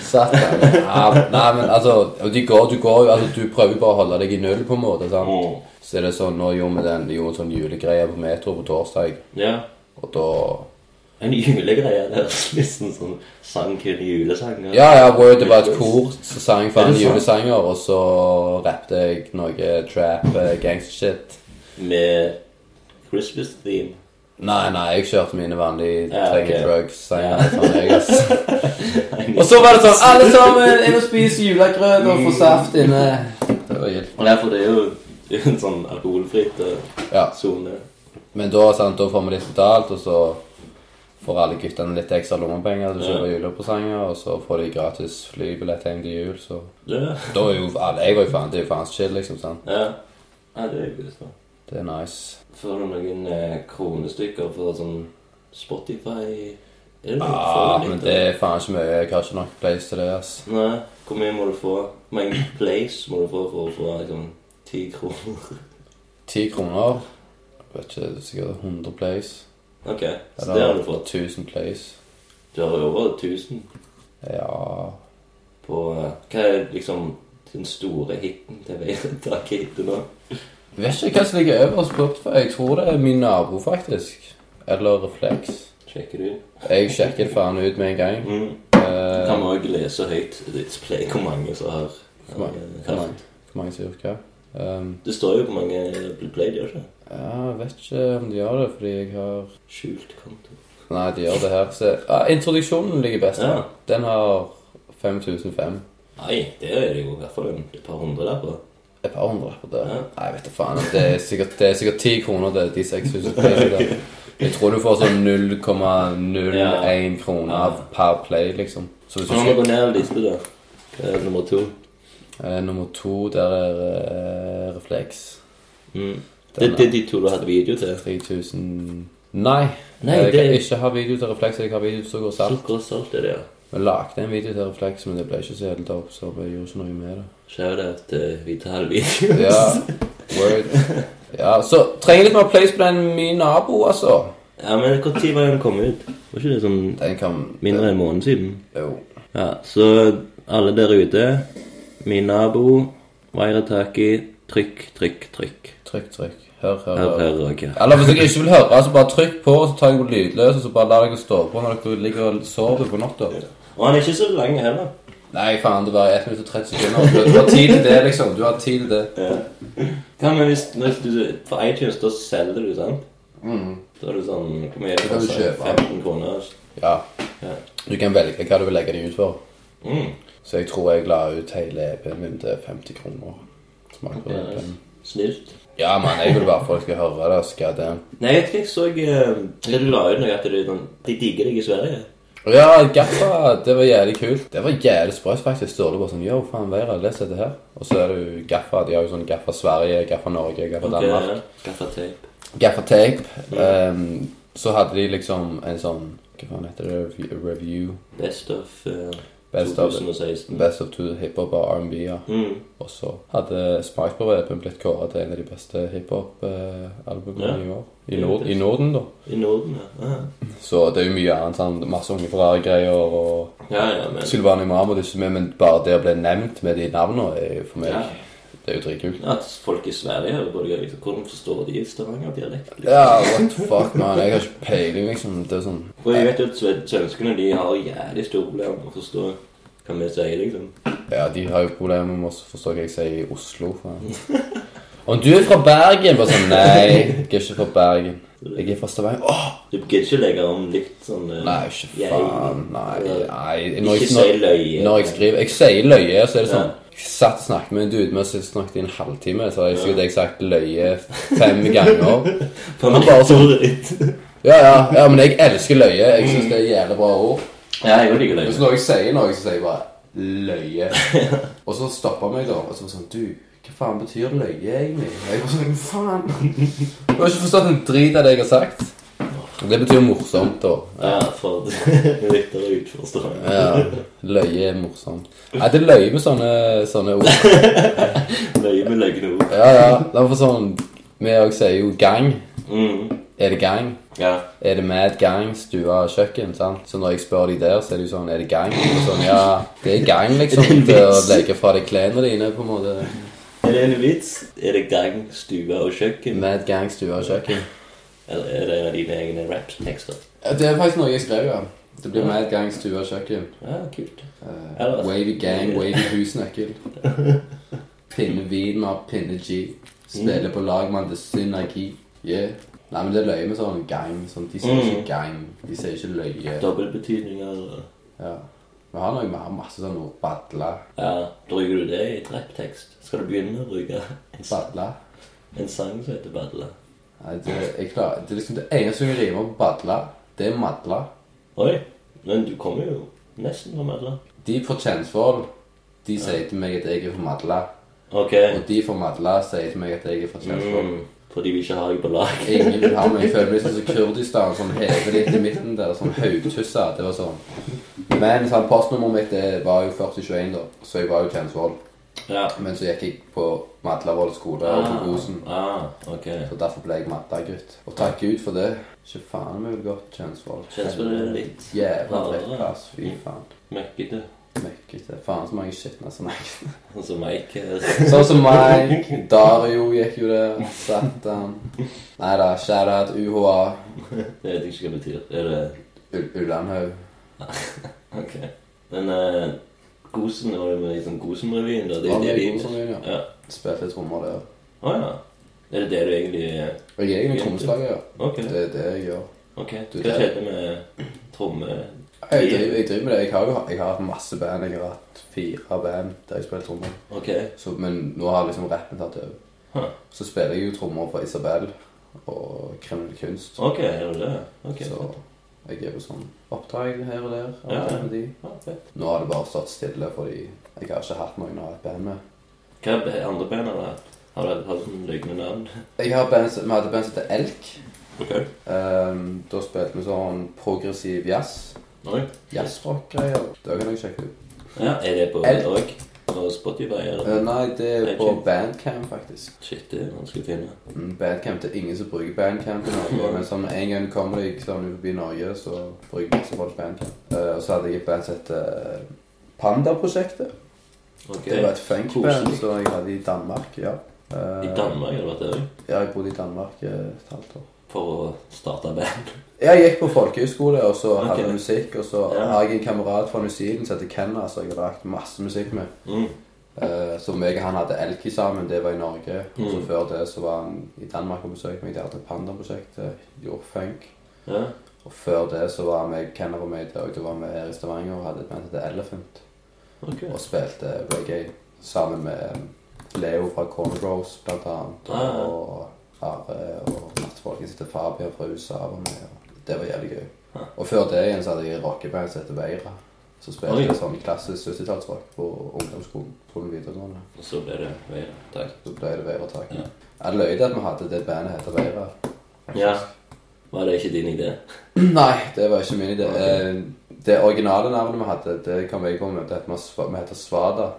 S2: Satan. Ja, nei, men altså og de går, Du går jo, altså du prøver jo bare å holde deg i null, på en måte. sant?
S1: Mm.
S2: Så er det sånn, Nå gjorde vi den, gjorde en sånn julegreie på Metro på torsdag,
S1: Ja.
S2: og da
S1: En julegreie. Det høres liksom sånn sang til julesanger.
S2: Ja, ja, wow, det var et kor som sang
S1: Er
S2: fan
S1: det sant?
S2: julesanger, og så rappte jeg noe trap, eh, gangstershit.
S1: Med Christmas theme.
S2: Nei, nei, jeg kjørte mine vanlige
S1: Ja,
S2: trenger
S1: ok.
S2: drugs-sanger. sånn, jeg, ass. [laughs] Og så var det sånn Alle sammen inn og spis julegrøt og få saft inne. Mm. Det var gilt.
S1: Og derfor det er jo det er jo en sånn alkoholfritt eh,
S2: Ja.
S1: sone.
S2: Men da, sant, da får vi litt betalt, og så får alle guttene litt ekstra lommepenger til å kjøpe julepresanger, og så får de gratis flybillett hjem til jul, så
S1: Ja.
S2: Da er jo alle Jeg var jo faen Det er jo faen shit, liksom. sant?
S1: ja. ja, det er jo godt. da.
S2: Det er nice.
S1: Får du noen eh, kronestykker for sånn Spotify? Er det noe?
S2: Ja,
S1: Får du litt,
S2: Ah, men
S1: da?
S2: det er faen ikke mye. Jeg har ikke nok place til det, ass.
S1: Nei, hvor mye må du få? Hvor mange place må du få for å få liksom ti kroner? [laughs]
S2: Ti kroner. Jeg Vet ikke, det er sikkert 100 place.
S1: Ok, så det har
S2: Eller
S1: du fått.
S2: 1000 place.
S1: Du har jo over 1000
S2: Ja
S1: på eh, Hva er liksom den store hiten til Veidetak-hiten nå?
S2: Jeg vet ikke hva som ligger øverst på Spotify. Jeg tror det er min nabo, faktisk. Eller Reflex.
S1: Sjekker du?
S2: Jeg sjekker det faen ut med en gang.
S1: Mm. Kan
S2: Eh,
S1: vi òg lese høyt display hvor mange som har
S2: Hvor mange?
S1: har-
S2: Hvor mange? hvor mange som gjør hva? Ehm,
S1: Det står jo hvor mange blir play, gjør det ikke?
S2: ja, jeg vet ikke om de gjør det, fordi jeg har
S1: Skjult konto.
S2: Nei, de gjør det her. Se. Ah, introduksjonen ligger best.
S1: Ja.
S2: Den har 5005.
S1: Nei, det er det jo i hvert fall en- et par hundre der på.
S2: Et par hundre på det.
S1: Ja.
S2: Nei, vet du faen. Det er sikkert, det er sikkert 10 kroner, det, de
S1: [laughs]
S2: 6000 playene. Jeg tror du får sånn 0,01
S1: Ja.
S2: kroner per play, liksom. Så hvis du
S1: Nå må vi
S2: skal
S1: gå ned en liste, da. Hva er nummer to?
S2: eh, Nummer to, der er eh, Reflex.
S1: Mm. Det,
S2: Den
S1: det er
S2: er
S1: de to du hadde video til.
S2: 3000 Nei.
S1: Nei,
S2: jeg
S1: det
S2: kan
S1: er
S2: ikke ha video til Reflex. Jeg har video til Sukker og Salt.
S1: Sukker og salt er det, ja.
S2: Vi lagde en video til Reflex, men det ble ikke så helt opp, så vi gjorde ikke
S1: [laughs]
S2: noe med det.
S1: Shout-out til Vital Video.
S2: Ja, word. Ja, Så trenger litt mer plays på den min nabo, altså.
S1: [laughs] Ja, men når var den kom ut? Var ikke det sånn
S2: Den kan
S1: mindre enn en måned siden?
S2: Jo.
S1: Ja, så alle der ute Min nabo, Vairataki, trykk, trykk, trykk.
S2: Trykk, trykk. Hør, hør,
S1: Her,
S2: hør.
S1: her og her.
S2: Eller hvis dere ikke vil høre, så bare trykk på, så tar jeg på lydløs, og så bare lar dere stå på når dere ligger og sover på natta.
S1: Og han er ikke så lang heller.
S2: Nei, faen, det var 1 minutt og 30 sekunder. Du har tid til det, liksom. Du har tid til det.
S1: Ja, men hvis, hvis du, På iTunes da selger du, sant? Da er det sånn Hvor mye er det
S2: Mm. Da kan
S1: for
S2: du
S1: seg?
S2: kjøpe.
S1: 15 kroner?
S2: Ja.
S1: Ja.
S2: Du kan velge hva du vil legge dem ut for.
S1: Mm.
S2: Så jeg tror jeg la ut hele EP-en min til 50 kroner. Smak på
S1: Ja,
S2: den. planen.
S1: Snilt.
S2: Ja, men jeg vil bare folk skal høre det. Skal det.
S1: Nei, jeg tror jeg så eh, det Du la ut noe at det er sånn, de digger deg i Sverige.
S2: Ja, Gaffa, det var jævlig kult. Det var jævlig sprøtt, faktisk. Står det bare sånn Yo, faen, Veira, les dette her. Og så er det jo Gaffa. De har jo sånn Gaffa Sverige, Gaffa Norge, Gaffa
S1: Ok,
S2: Danmark.
S1: ja. Gaffateip.
S2: Gaffa Tape. ehm, så hadde de liksom en sånn Hva faen heter det? Rev- Review?
S1: Best of eh,
S2: Best of,
S1: 2016.
S2: best of two hiphop og R&B-er.
S1: Mm.
S2: Og så hadde Smak på Repen blitt kåret til en av de beste hiphop-albumene
S1: Ja.
S2: i år. I, Nord I Norden, da.
S1: I Norden, ja. Ah.
S2: Så det er jo mye annet. sånn, Masse unge Ferrari-greier og
S1: Ja, ja, men
S2: Sylvana Imam og disse med, men bare det å bli nevnt med de navnene er jo for meg
S1: ja.
S2: Det er jo dritkult.
S1: At folk i Sverige hører på det, liksom. hvordan forstår de Stavanger-dialekt? Liksom?
S2: Ja, what the fuck, man. Jeg har ikke peiling, liksom. Det er sånn
S1: For jeg vet jo at sve- svenskene de har jævlig store problemer med å forstå hva vi sier, liksom.
S2: Ja, de har jo problemer med å forstå hva jeg sier i Oslo. faen. Om du er fra Bergen Bare sånn Nei, jeg er ikke fra Bergen. Jeg er fra Stavanger. Åh!
S1: Du gidder ikke legge om litt sånn eh,
S2: Nei, ikke
S1: jeg-
S2: faen. Nei. nei. Når
S1: Ikke
S2: jeg,
S1: si
S2: når,
S1: løye.
S2: når jeg skriver Jeg sier løye, så er det sånn Jeg satt og snakket med en dude med oss snakket i en halvtime, så har jeg sikkert jeg sagt løye fem ganger.
S1: Faen,
S2: Han bare [laughs]
S1: ordet ditt.
S2: Ja, ja, ja, men jeg elsker løye. Jeg syns det er jævlig bra ord.
S1: Ja, jeg liker
S2: Hvis
S1: løgn.
S2: noen sier noe, så sier jeg bare løye. Og så stopper han meg, da. Og så var sånn Du, hva faen betyr løye, egentlig? Og jeg var sånn Faen! Du har ikke forstått en drit av det jeg har sagt. Det betyr morsomt, da.
S1: [laughs] Ja, for [laughs] Victor er utforstående.
S2: Ja, løye er morsomt. Nei, det er løye med sånne, sånne ord.
S1: Løye med løgne ord.
S2: Ja, ja. Derfor sånn Vi òg sier jo gang.
S1: Mm.
S2: Er det gang?
S1: Ja.
S2: Er det mad gang, stua og kjøkken? sant? Så når jeg spør de der, så er det jo sånn Er det gang? Og sånn, ja, [laughs] det er gang, liksom. Til å legge fra deg klærne dine, på en måte.
S1: Er det en vits? Er det gang, stue og kjøkken?
S2: Mad gang, stue og kjøkken.
S1: Eller er det en av dine egne rapptekster?
S2: Det er faktisk noe jeg skrev, ja. Det blir mad gang, stue og kjøkken.
S1: Ja, kult.
S2: Eh,
S1: Ja, det var-
S2: wavy gang, wavy [laughs] husnøkkel. Pinne vin, vi har pinne G. Spiller på lag, man. Det er synergi. Yeah. Nei, men det er løye med sånn gang. Sånn, de sier ikke gang. De sier ikke løye.
S1: Dobbeltbetydninger. og-
S2: Ja. Vi har noe, vi har masse sånn ord. Badla.
S1: Ja, bruker du det i et rapptekst? Skal du begynne å bruke en, sa-
S2: Badla.
S1: en sang som heter Badla?
S2: Nei, det, jeg klarer, det er liksom det eneste som rimer på badla, det er madla.
S1: Oi, men du kommer jo nesten fra Madla.
S2: De fra Kjensvoll, de sier til meg at jeg er fra madla.
S1: Ok.
S2: Og de fra Madla sier til meg at jeg er fra Kjelsvoll.
S1: Mm. Fordi vi ikke har deg på lag.
S2: Ingen vil ha meg. Jeg føler meg sånn som Kurdistan, som hever litt i midten der, sånn haugtussa. Det var sånn. Men sånn, postnummeret mitt det var jo 4021, da, så jeg var jo Kjensvoll.
S1: Ja.
S2: Men så gikk jeg på Madlavoll skole og på Gosen.
S1: Ah, ok.
S2: Så derfor ble jeg Madla-gutt. Og takk Gud for det. Ikke faen meg godt Kjensvoll.
S1: Kjensvoll er litt
S2: Jævla
S1: hardere.
S2: drittplass. Fy faen.
S1: Møkkete.
S2: Møkkete. Faen så mange altså. skitne som jeg
S1: Sånn som [laughs] Mike her.
S2: [laughs] Sånn som
S1: [laughs]
S2: meg. Dario gikk jo der. Satan. Nei da, shout-out UHA.
S1: Jeg vet ikke hva det betyr. Er det
S2: U- Ullandhaug.
S1: Ok. Men eh, Gosen var jo med i sånn Gosenrevyen, da. Det
S2: Var
S1: er det
S2: med i
S1: de
S2: Gosenrevyen, ja.
S1: ja.
S2: Spilte trommer der.
S1: Å ja. Er det det du egentlig eh,
S2: Og jeg er egentlig trommeslager, ja.
S1: Ok.
S2: Det er det jeg gjør.
S1: ok.
S2: Du,
S1: Hva
S2: det-
S1: skjedde med tromme...
S2: Jeg driver, jeg driver med det. Jeg har jo jeg har hatt masse band. Jeg har hatt fire band der jeg spiller trommer.
S1: Ok.
S2: Så, men nå har liksom rappen tatt over.
S1: Huh.
S2: Så spiller jeg jo trommer for Isabel og Kriminell Kunst.
S1: Ok, er det det? Ok.
S2: Så jeg er jo sånn oppdrag her og der. av
S1: Ja,
S2: og til
S1: ja.
S2: med de.
S1: Ah, fett.
S2: Nå har det bare stått stille fordi jeg har ikke hatt noen å ha et band med.
S1: Hva er det andre beina da? Har du hatt sånn lignende navn?
S2: Jeg har band, som- Vi hadde band som het Elk.
S1: Ok.
S2: Ehm, da spilte vi sånn progressiv jazz.
S1: Oi.
S2: Jazzrock-greier. Det kan jeg sjekke ut.
S1: Ja, er det på
S2: Elk.
S1: òg? På Spotify?
S2: Eh,
S1: Eller?
S2: nei, det er
S1: Nei,
S2: på
S1: shit.
S2: Bandcamp, faktisk.
S1: Shit, det er vanskelig å finne.
S2: Mm, Bandcamp det er ingen som bruker Bandcamp i
S1: [laughs]
S2: Norge. Men sånn, med en gang du kommer deg sånn forbi Norge, så bruker masse folk Bandcamp. Eh, og så hadde jeg et band som het eh, Panda-prosjektet.
S1: Ok.
S2: Det var et funkband
S1: Koselig.
S2: som jeg hadde i Danmark. ja. Eh,
S1: I Danmark har du vært der òg?
S2: Ja, jeg bodde i Danmark eh, et halvt år.
S1: For å starte
S2: [laughs]
S1: band?
S2: Jeg gikk på folkehøyskole, og så hadde
S1: Ok.
S2: jeg musikk. Og så
S1: Ja.
S2: har jeg en kamerat fra New Zealand som heter Kenna, som jeg har lagd masse musikk med.
S1: Mm.
S2: Eh, så meg og han hadde Elki sammen, det var i Norge. Og så
S1: Mm.
S2: før det så var han i Danmark og besøkte meg. De hadde Panda-prosjektet, gjorde funk.
S1: Ja.
S2: Og før det så var vi Kenner og meg der, og da var vi her i Stavanger og hadde et band som het Elephant.
S1: Ok.
S2: Og spilte reggae sammen med um, Leo fra Corner Bros, blant annet.
S1: Ah, ja.
S2: Og Are og nattfolket sitter Fabian fra USA var med. Og det var jævlig gøy.
S1: Ah.
S2: Og før det igjen så hadde jeg et rockeband som heter Veira. Så spilte
S1: Oi.
S2: jeg sånn klassisk 70-tallsrock på ungdomsskolen. skolen videregående.
S1: Og så ble det Veira. Takk.
S2: Så ble det Veira-tak.
S1: Ja.
S2: Jeg løy det at vi hadde det bandet heter Veira.
S1: Ja. Var det ikke din idé?
S2: [clears throat] Nei, det var ikke min idé. Eh, Det originale navnet vi hadde, det kom jeg på med, det heter vi Sva- vi heter Svada.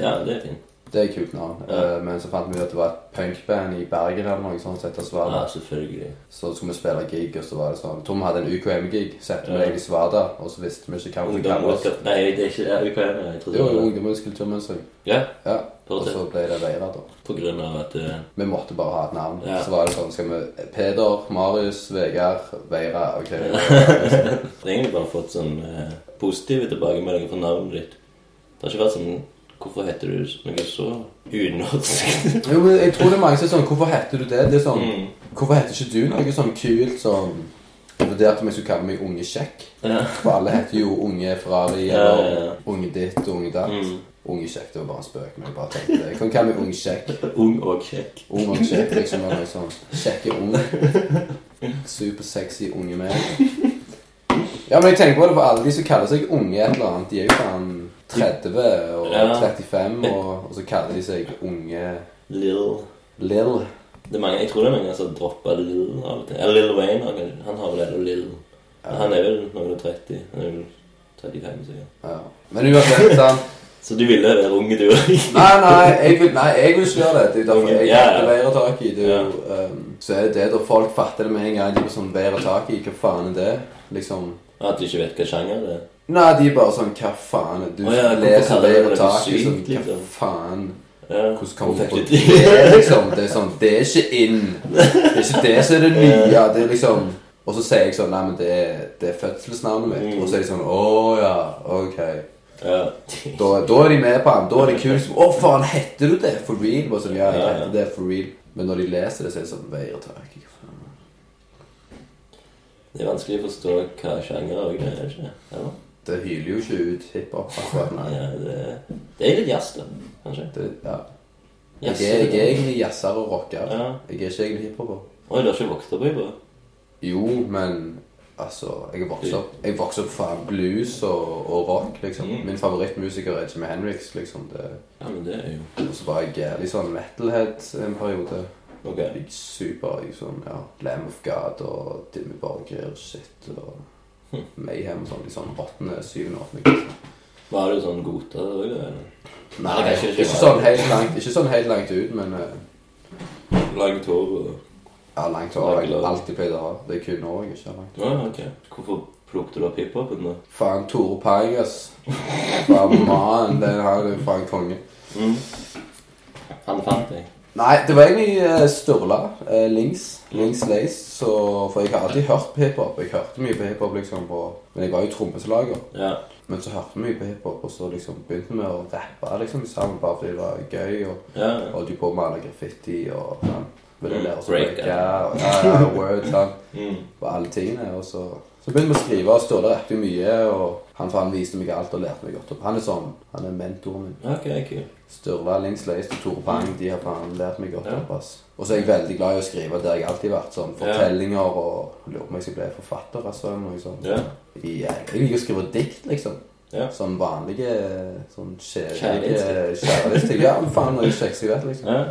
S1: Ja, det er fint.
S2: Det er et kult navn.
S1: Ja.
S2: Eh, Men så fant vi ut at det var et punkband i Bergen eller noe sånt som heter Svada.
S1: Ja, selvfølgelig.
S2: Så skulle vi spille gig, og så var det sånn Tom hadde en UKM-gig, sette
S1: Ja.
S2: meg i Svada, og så visste vi ikke hva vi skulle
S1: Ungdom
S2: kalle oss.
S1: Workout. Nei, det er ikke det. UKM. Jeg tror
S2: Det var jo Altså-
S1: det var
S2: ungdommens kulturmønstring.
S1: Ja,
S2: Ja. Og
S1: fortsett.
S2: så ble det Veira, da.
S1: På grunn av at
S2: [laughs]
S1: eh,
S2: Vi måtte bare ha et navn.
S1: Ja.
S2: Så var det sånn Skal vi Peder, Marius, Vegard, Veira
S1: [laughs]
S2: OK.
S1: Du har egentlig bare fått sånn eh, positive tilbakemeldinger for navnet ditt. Det har ikke vært sånn Hvorfor heter du noe så unorsk?
S2: [laughs] Jo, men jeg tror det er mange som er sånn Hvorfor heter du det? Det er sånn
S1: Mm.
S2: Hvorfor heter ikke du noe sånn kult som Jeg vurderte om jeg skulle kalle meg Unge Kjekk.
S1: ja.
S2: For alle heter jo Unge Ferrari
S1: Ja,
S2: eller
S1: ja, ja.
S2: Unge ditt og Unge datt.
S1: Mm.
S2: Ung og kjekk, det var bare en spøk. Men jeg bare tenkte det. Jeg kan kalle meg ung kjekk.
S1: Ung og kjekk.
S2: Ung og kjekk, liksom. Eller noe sånt. Kjekke unge. Supersexy unge menn. Ja, men jeg tenker på det, for alle de som kaller seg unge et eller annet, de er jo faen 30 og
S1: Ja.
S2: 35, og, og så kaller de seg unge
S1: Lil.
S2: Lill.
S1: Det er mange, jeg tror det er mange som dropper Lil av og til. Eller Lil Wayne. har kanskje- Han har vel det, og Lil. Men Han er vel noen og 30. Han er vel 35, sikkert.
S2: Ja. Men uansett, sant.
S1: Så du ville være ung, du òg?
S2: Nei, nei, jeg vil, nei, jeg vil ikke gjøre det. Det er jo derfor jeg
S1: Ja, ja.
S2: veier tak i. Det er jo,
S1: Ja.
S2: ehm, så er det det da folk fatter det med en gang. De blir sånn veier tak i. Hva faen er det? Liksom
S1: [laughs] At du ikke vet hva sjanger det er?
S2: Nei, de er bare sånn Hva faen? er det? Du
S1: Å ja, hvorfor
S2: leser
S1: kaller de
S2: veier
S1: det
S2: tak i
S1: sykt,
S2: sånn Hva
S1: liksom?
S2: faen?
S1: Ja.
S2: Hvordan kan
S1: Hvor
S2: man få
S1: fikk du
S2: det? Liksom, det er sånn Det er ikke in. Det er ikke det som er det
S1: [laughs]
S2: nye. Det er liksom Og så sier jeg sånn Nei, men det er, det er fødselsnavnet mitt.
S1: Mm.
S2: Og så er de sånn Å ja, ok.
S1: [laughs] Ja.
S2: Da, da er de med på han. Da er det kult. som, Å, faen, heter du det for real? Bare sånn, ja, jeg
S1: Ja, ja.
S2: heter det for real. Men når de leser det, så er det sånn Veier tak. ikke faen.
S1: Det er vanskelig å forstå hva sjanger òg er, er det ikke? Eller?
S2: Det hyler jo ikke ut hiphop. akkurat, Nei.
S1: Ja, det, det er litt jazz, da. Kanskje.
S2: Det, ja.
S1: Jazz,
S2: Jeg er, jeg er
S1: det-
S2: egentlig jazzer og rocker.
S1: Ja.
S2: Jeg er ikke egentlig hiphoper.
S1: Oi, du har ikke vokst opp i det?
S2: Jo, men altså Jeg vokste opp Jeg vokste opp fra blues og, og rock, liksom.
S1: Mm.
S2: Min favorittmusiker er Jimmy Henriks, liksom. Det,
S1: Ja, men det er jo
S2: og så var jeg jævlig sånn metalhead en periode.
S1: Ok.
S2: Jeg gikk super i sånn, ja, Lamb of God og Dimmy Borger og shit og Mayhem og sånn, de sånn åttende, syvende, åttende klasse.
S1: Var du sånn godta det òg, da? eller?
S2: Nei,
S1: det er
S2: ikke,
S1: ikke- ikke
S2: sånn helt langt, ikke sånn helt langt ut, men eh,
S1: Langt hår og
S2: ja, langt over jeg
S1: Langt over.
S2: alltid pleide å ha. Det er kun nå jeg ikke har langt.
S1: Ja, ok. Hvorfor plukket du opp hiphopen, da?
S2: Faen, Tore Pangas. Faen, mann, det her er jo faen konge.
S1: Mm. Han fant deg.
S2: Nei, det var egentlig eh, Sturla, eh, Lings, Lings Lace, så, for jeg har alltid hørt på hiphop. Jeg hørte mye på hiphop, liksom, på, men jeg var jo trommeslager.
S1: Ja.
S2: Men så hørte vi mye på hiphop, og så liksom begynte vi å rappe liksom sammen bare fordi det var gøy. Og
S1: ja.
S2: holdt jo på med alle graffiti og sånn. Ville
S1: Mm,
S2: lære oss å
S1: break,
S2: breake
S1: ja.
S2: og ja, ja, word, sånn.
S1: Mm.
S2: Og alle tingene. Og så, så begynte vi å skrive, og Sturle rappet jo mye. Og han, for han viste meg alt og lærte meg godt opp. Han er sånn, han er mentoren min.
S1: Ok, kult.
S2: Sturla, Lings Leist og Tore Pang de har faen lært meg godt opp. ass. Og så er jeg veldig glad i å skrive der jeg alltid har vært. sånn Fortellinger og Lurer på om jeg skal bli forfatter. Altså, eller noe sånt.
S1: Ja.
S2: Ja, jeg liker å skrive dikt, liksom.
S1: Ja.
S2: Sånn vanlige sånn kjære-
S1: Kjærlighetsdikt.
S2: kjærlighetsdikt. Ja, men faen,
S1: [laughs]
S2: det er jo kjekt jeg vet, liksom.
S1: ja.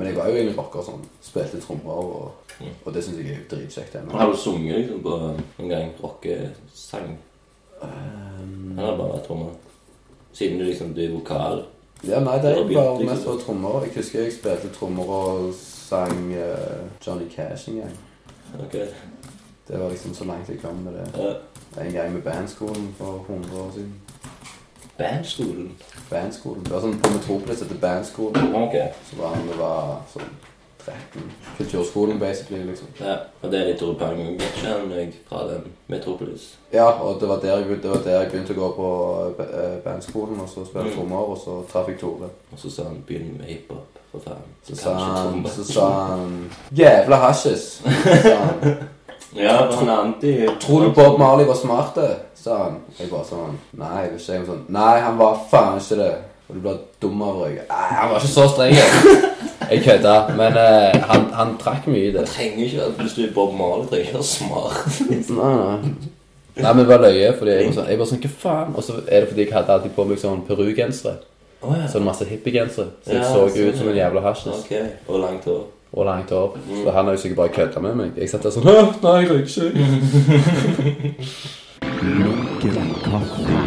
S2: Men jeg var jo egentlig rocker og sånn. Spilte trommer, og,
S1: Mm.
S2: og det syns jeg er jo dritkjekt ennå.
S1: Har du sunget liksom på en gang rockesang?
S2: Ehm,
S1: Han har bare vært trommer. Siden du liksom du er vokal.
S2: Ja, nei, det er jo
S1: Det har
S2: bare
S1: begynt,
S2: mest
S1: liksom.
S2: for trommer. Jeg husker jeg spilte trommer og sang eh, Johnny Cash en gang.
S1: Ok.
S2: Det var liksom så langt jeg kom med det.
S1: Ja.
S2: En gang med bandskolen for 100 år siden.
S1: Bandskolen.
S2: Bandskolen. Det var sånn på Metropolis etter bandskolen.
S1: Ok.
S2: Så var han det var sånn 13. Kulturskolen, basically, liksom.
S1: Ja, og det er litt Tore Pang. Jeg kjenner meg fra den Metropolis.
S2: Ja, og det var der jeg, begynte- det var der jeg begynte å gå på eh, bandskolen og så spille
S1: Mm.
S2: trommer, og så traff jeg Tore.
S1: Og så sa han 'begynn med hiphop', for faen.
S2: Så
S1: Kanskje
S2: sa han,
S1: trommer.
S2: så sa han Jævla
S1: [laughs]
S2: hasjis! sa han.
S1: Ja, for han er anti...
S2: Tror du Bob Marley var smart, det? sa han. Jeg bare sånn Nei, jeg vil ikke. Jeg var sånn, Nei, han var faen ikke det. Og du blir dum av røyk. Nei, han var ikke så streng. jeg. Jeg kødda, men eh, han, han trakk mye i det.
S1: trenger ikke at hvis du er Bob Marley, trenger ikke være smart.
S2: Nei, nei. Nei, men det var løye, fordi jeg var sånn, jeg var sånn Hva faen? Og så er det fordi jeg hadde alltid på meg sånn perugensere.
S1: Å ja.
S2: Sånn masse hippiegensere. Så jeg
S1: Ja,
S2: så
S1: sånn,
S2: ut som en
S1: ja.
S2: jævla hasjis
S1: Ok, og langt hår.
S2: og langt hår. Så han har jo sikkert bare kødda med meg. Jeg satt der sånn «Hæ? Nei, jeg røyker ikke.
S3: Lunken kaffe.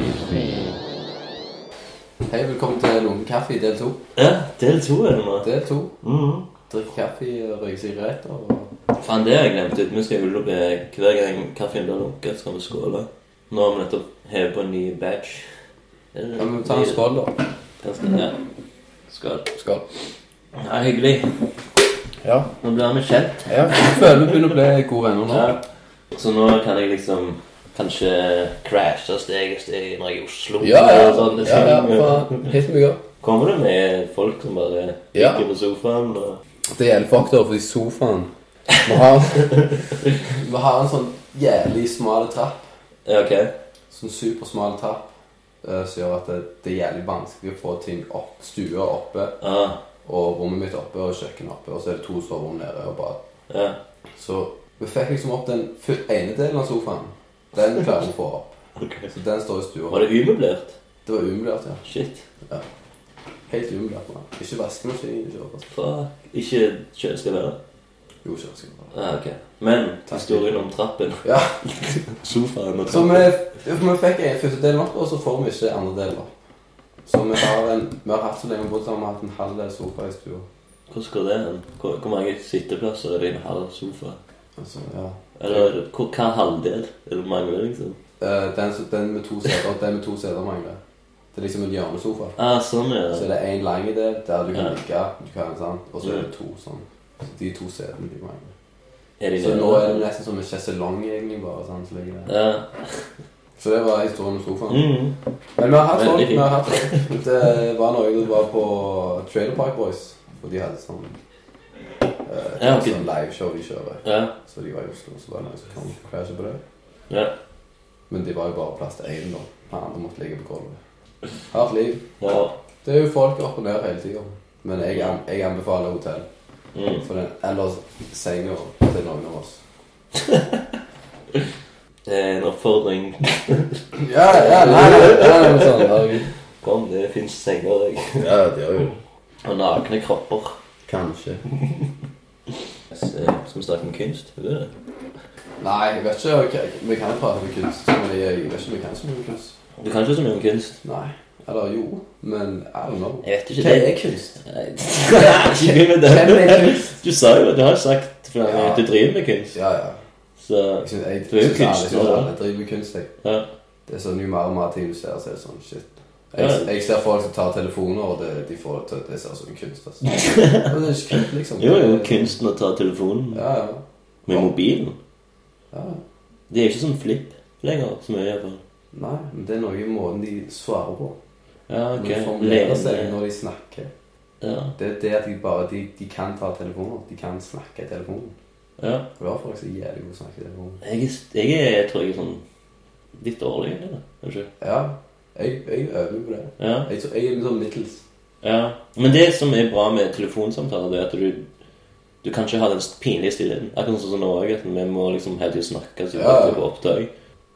S2: Hei, velkommen til Lunken kaffe del to.
S1: Ja, del to er det nå.
S2: Del to.
S1: Mhm.
S2: Drikk kaffe, røyke sigaretter og
S1: Faen, det har jeg glemt ut. Vi skal jo eh, hver gang kaffen blir lunket, skal vi skåle. Nå har vi nettopp hevet på en ny badge. Er det
S2: Ja, men ta en skål, da.
S1: Den skal- Ja. Skål.
S2: Skål.
S1: Ja, hyggelig.
S2: Ja.
S1: Nå blir vi kjent.
S2: ja. Jeg føler vi begynner å bli gode venner nå.
S1: Ja. Så nå kan jeg liksom kanskje crashe steg og steg når jeg er i Oslo.
S2: Ja, ja. sånn,
S1: og sånn, sånne
S2: ja, ja
S1: ting.
S2: faen. Hit meg opp.
S1: Kommer det med folk som bare
S2: Ja.
S1: ligger på sofaen og
S2: Det gjelder faktor for de sofaen. Vi har, [laughs] vi har en sånn jævlig smal trapp.
S1: Ja, ok.
S2: Sånn supersmal trapp. eh, som gjør at det, det er jævlig vanskelig å få ting opp. Stua oppe,
S1: Ah,
S2: og rommet mitt oppe, og kjøkkenet oppe, og så er det to soverom nede og bad.
S1: ja.
S2: Så vi fikk liksom opp den fu- ene delen av sofaen. Den klarer vi å få opp.
S1: Ok.
S2: Så den står i stua.
S1: Var det umøblert?
S2: Det var umiddelbart, ja.
S1: Shit.
S2: Helt umiddelbart. Man. Ikke vaskemaskin, ikke oppvask.
S1: Fuck. Ikke kjøleskap heller?
S2: Jo, ikke vaskemaskin.
S1: Ah, ok. Men historien om trappen.
S2: Ja.
S1: [laughs] Sofaen og
S2: Så vi, vi fikk en første delen opp, og så får vi ikke andre delen opp. Så vi har, en, vi har hatt så lenge vi har bodd sammen, vi har hatt en halv del sofa i stua.
S1: Hvordan går det hen? Hvor, hvor mange sitteplasser er det i en halv sofa?
S2: Altså, ja.
S1: Eller hvor, hva halvdel er det mangler, liksom?
S2: Eh, den, som- den med to seter og den med to seter mangler. Det er liksom en hjørnesofa.
S1: Ah, sånn er
S2: Så er
S1: det.
S2: det én lang del der du kan
S1: Ja.
S2: ligge, du kan, sant? og så er det to sånn. Så de to setene de mangler.
S1: Er de
S2: Så
S1: nede?
S2: nå er det nesten som en sjeselong, egentlig, bare. sånn, Så, ligger det.
S1: Ja.
S2: så det var historien om sofaen.
S1: Mm.
S2: Men vi har hatt
S1: Veldig
S2: folk.
S1: fint.
S2: vi har hatt folk. Det var noe du var på Trailer Park Boys. Og de hadde sånn eh,
S1: Ja, ok.
S2: sånn liveshow de kjører.
S1: Ja.
S2: Så de var i Oslo, så var det noen som kom og crasha på det.
S1: Ja.
S2: Men de var jo bare plass til én, da. Den andre måtte ligge på gulvet. Hardt liv.
S1: ja.
S2: Det er jo folk opp og ned hele tida. Men jeg, an- jeg anbefaler hotell.
S1: Mm.
S2: For den, ellers senga til noen av oss.
S1: Det er en oppfordring.
S2: Ja, ja, nei, nei, nei, nei, sånn, ok.
S1: Kom, det fins senger jeg.
S2: ja, det gjør jo
S1: og nakne kropper.
S2: Kanskje.
S1: Så, Skal vi snakke om kunst? Vil du det?
S2: Nei, jeg vet ikke. ok, Vi kan jo prate om kunst, men jeg, jeg vet ikke om vi kan så mye om kunst.
S1: Du kan ikke så mye om kunst.
S2: Nei. Eller jo, men I don't know.
S1: Jeg vet ikke
S2: Hva
S1: det.
S2: er [laughs] kunst?
S1: Nei, Ikke begynn med
S2: Hvem er
S1: det.
S2: kunst?
S1: Du sa jo, du har jo sagt flere ganger at
S2: Ja.
S1: du driver med kunst.
S2: Ja, ja.
S1: Så
S2: Jeg synes, jeg,
S1: Du er jo
S2: synes alle-
S1: kunstner,
S2: jeg
S1: da.
S2: synes alle driver med kunst, jeg.
S1: ja.
S2: Det er sånn jo mer og mer ting du ser, så er det sånn shit.
S1: Ja.
S2: Jeg, jeg ser folk som tar telefoner, og det, de får det til Det ser ut som en kunst,
S1: [laughs]
S2: altså. Men det er ikke kunst, liksom.
S1: Jo, jo, kunsten å ta telefonen
S2: Ja, ja.
S1: med mobilen.
S2: ja.
S1: Det er ikke sånn flipp lenger, som jeg gjør på.
S2: Nei, men det er noe i måten de svarer på.
S1: Ja, ok. eh,
S2: Når de formulerer seg
S1: Lene.
S2: når de snakker.
S1: Ja,
S2: Det er det at de bare de, de kan ta telefoner. De kan snakke i telefonen.
S1: ja.
S2: For det var folk som er jævlig gode til å snakke i telefonen.
S1: Jeg, er- jeg er, jeg tror jeg er sånn litt dårlig egentlig, da. Er det ikke?
S2: Ja, jeg, jeg øver jo på det.
S1: Ja,
S2: Jeg, tror- jeg er litt sånn middels.
S1: ja. Men det som er bra med telefonsamtaler, det er at du du kan ikke ha den pinlige stillheten. Akkurat sånn som nå også, at vi må liksom hele tiden snakke så vi
S2: Ja.
S1: alltid er på opptak.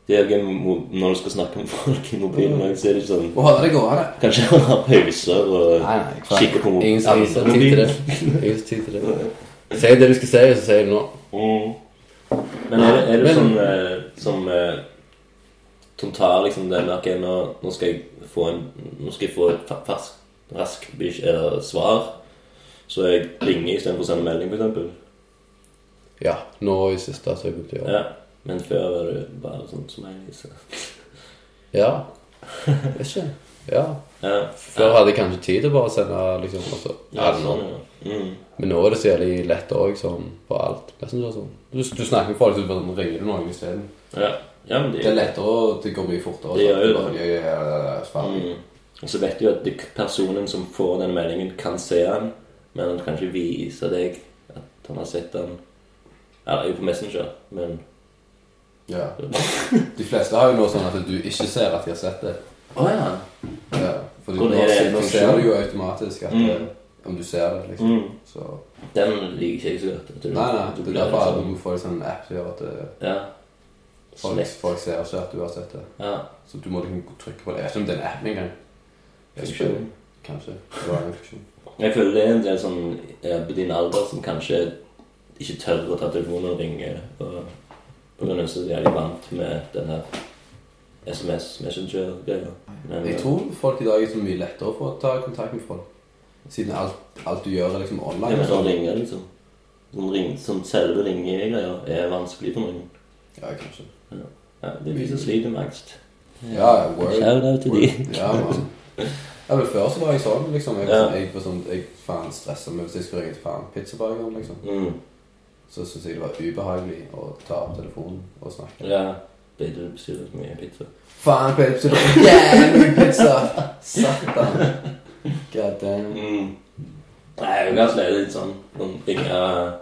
S1: Det er jo gøy mo- når du skal snakke med folk i mobilen,
S2: Mm.
S1: også, så er det ikke sånn
S2: Å, holde det gående.
S1: Kanskje han har pauser og
S2: Nei, nei, klar.
S1: kikker på
S2: Ingen som
S1: andre
S2: har tid til det. Ingen som har tid til det. Si det du skal si, og så sier du nå.
S1: Mm. Men er det, er det
S2: Men-
S1: sånn eh, som eh, som tar liksom den Ok, nå, nå skal jeg få en Nå skal jeg få et fa- fersk, rask bish, eller svar. Så jeg ringer istedenfor å sende melding, f.eks.
S2: Ja, nå i siste så har jeg begynt å gjøre det.
S1: Ja. Men før var det bare sånn som jeg viser.
S2: Ja. Jeg vet ikke. Ja.
S1: Ja.
S2: Før hadde jeg kanskje tid til bare å sende liksom også.
S1: Ja, sånn, ja. Mm.
S2: Men nå er det så jævlig lett òg, sånn på alt. Messenger og sånn. Du, du snakker med folk, så bare ringer du noen isteden.
S1: ja. ja men
S2: Det er
S1: det,
S2: lettere, og det går mye fortere.
S1: Det
S2: sant?
S1: gjør jo
S2: Du bare,
S1: det.
S2: ja, ja, ja, ja, ferdig.
S1: mm. Og så vet du at det- personen som får den meldingen, kan se den, men han kan ikke vise deg at han har sett den. Ja, jo på Messenger, men
S2: Ja. De fleste har jo nå sånn at du ikke ser at de har sett det.
S1: Å ja.
S2: Ja. Fordi
S1: Hvordan
S2: nå,
S1: er det
S2: ser- nå
S1: funksjon?
S2: ser du jo automatisk at
S1: Mm.
S2: eh, om du ser det, liksom.
S1: Mm.
S2: Så
S1: Den liker ikke jeg så godt. at du-
S2: Nei, nei.
S1: du
S2: Det er
S1: blir
S2: derfor alle
S1: sånn-
S2: må få en sånn app som gjør at eh,
S1: Ja.
S2: folk,
S1: Slett.
S2: folk ser ikke at du har sett det.
S1: Ja.
S2: Så du må liksom trykke på det. Jeg vet ikke om det er en app engang. Jeg vet ikke.
S1: Funksjon.
S2: Kanskje. Det var en funksjon.
S1: Jeg føler det er en del sånn eh, på din alder som kanskje ikke tør å ta telefonen og ringe. Og på grunn av at de er litt vant med den her SMS Messenger-greia. Men, eh,
S2: Jeg tror folk i dag er så mye lettere for å ta kontakt med folk. Siden alt, alt du gjør, er liksom
S1: Ja, men
S2: online.
S1: sånn ringer, liksom. Sånn, ring, sånn selve ringegreier er vanskelig for noen.
S2: Ja, kanskje.
S1: Ja, det er de som sliter med angst.
S2: Ja, word.
S1: Shout-out til de.
S2: Ja, man. Ja, men Før så var jeg sånn, liksom. Jeg,
S1: Ja.
S2: jeg, var sånn, jeg faen stressa meg hvis jeg skulle ringe til faen pizzabargeren, liksom.
S1: Mm.
S2: Så syntes jeg det var ubehagelig å ta opp telefonen og snakke.
S1: Ja. Ble du bestilt mye pizza?
S2: Faen, pizza! Det er jævlig mye pizza! Satan. God damn.
S1: Mm. Nei, jeg har vært litt sånn. Noen ringer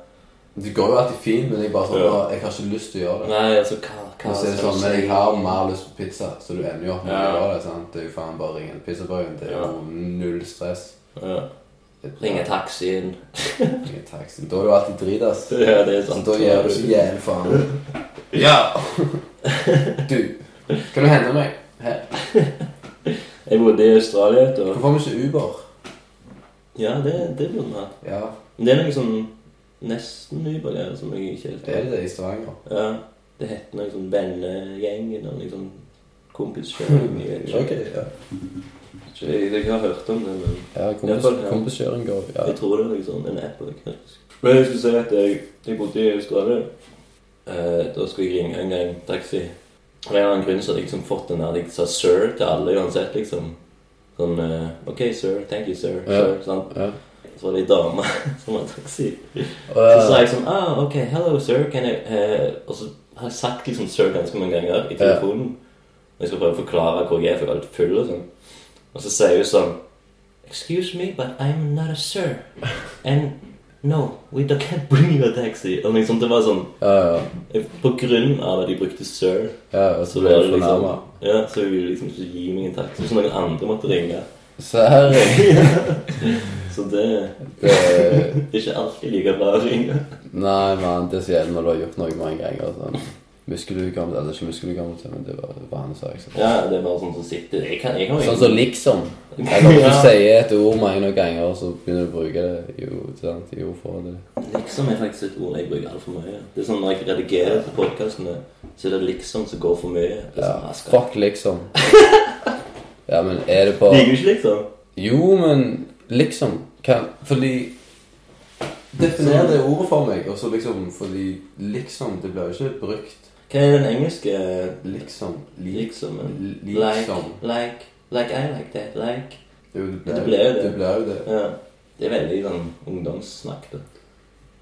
S2: Det går jo alltid fint, men jeg bare sånn,
S1: Ja.
S2: «Å, jeg har ikke lyst til å gjøre det.
S1: Nei, altså, hva, hva
S2: Og så er det
S1: skal
S2: sånn,
S1: du
S2: men
S1: si?
S2: jeg har mer lyst på pizza, så du ender jo opp med å
S1: Ja.
S2: gjøre det. sant? Det er jo faen bare å ringe en pizzabrød. Det er jo null stress.
S1: ja. Ringe taxien.
S2: Ringe taxi. Da er du alltid
S1: [laughs]
S2: dritas.
S1: Ja, det er
S2: Så
S1: sant.
S2: Sånn, da gjør du så jævlig faen. Ja! [laughs] Du, kan du hente meg? Her.
S1: Jeg bodde i Australia et år.
S2: Hvorfor har vi ikke Uber?
S1: Ja, det, det burde vi ha.
S2: Ja,
S1: Men det er noe sånn nesten nybølger som jeg ikke helt
S2: det er det i Stavanger.
S1: Ja, det heter noe sånn vennegjengen og noe sånn
S2: [laughs]
S1: kompiskjøring. Jeg vet ikke.
S2: ja.
S1: Ikke- jeg- jeg har hørt om det, men
S2: Ja,
S1: kompis-
S2: kompiskjøring går,
S1: jeg tror det er liksom en app. eller hva det er. Men jeg skulle si at jeg, jeg bodde i Australia. Eh, da skulle jeg ringe en gang taxi. Og av en eller annen grunn så hadde jeg liksom fått den der jeg sa 'sir' til alle uansett, liksom. Sånn eh, 'OK, sir. Thank you, sir.'
S2: Ja.
S1: sir sant?
S2: Ja.
S1: Så var det ei dame [laughs] som var taxi. Så sa
S2: Og,
S1: jeg sånn ah, ok, hello sir, can I eh, Og så har jeg sagt liksom sir ganske mange ganger i telefonen. Og jeg skal prøve å forklare hvor jeg er, for jeg er litt full og sånn. Og så sier hun sånn Excuse me, but I'm not a sir. And no, we don't can't bring you a taxi. Og liksom det var sånn
S2: ja, ja,
S1: På grunn av at de brukte sir,
S2: ja, og
S1: så
S2: så
S1: var
S2: blir
S1: det
S2: du
S1: liksom
S2: fornærmet.
S1: Ja, så hun ville liksom ikke gi meg en taxi. Så noen andre måtte ringe.
S2: Se her,
S1: [laughs] Så det
S2: [laughs] det,
S1: det er ikke alltid like bra å ringe.
S2: Nei, mann, det er så jævlig når du har gjort noe mange ganger. Sånn. Muskelhukommelse, eller ikke muskelhukommelse, men det var det var hans sak. så.
S1: Ja, det er bare sånn som sitter Jeg kan, jeg kan
S2: Sånn som liksom. Eller hvis du sier et ord mange nok ganger, så begynner du å bruke det jo, sant, i ordforrådet.
S1: Liksom er faktisk et ord jeg bruker altfor mye. Det er sånn Når jeg redigerer til podkastene, så er det liksom som går for mye. Det er
S2: Ja,
S1: sånn, «Ah, skal- [laughs]
S2: fuck liksom. Ja, men er det på
S1: Liker du ikke liksom?
S2: Jo, men liksom kan, Fordi Definer det ordet for meg, og så liksom Fordi liksom Det blir jo ikke brukt.
S1: Hva er den engelske eh,
S2: Liksom. Li,
S1: liksom? Like,
S2: liksom.
S1: like, like I like that, like
S2: Jo,
S1: Det blir jo det.
S2: Det blir jo det.
S1: Ja. Det er veldig sånn ungdomssnakk. da.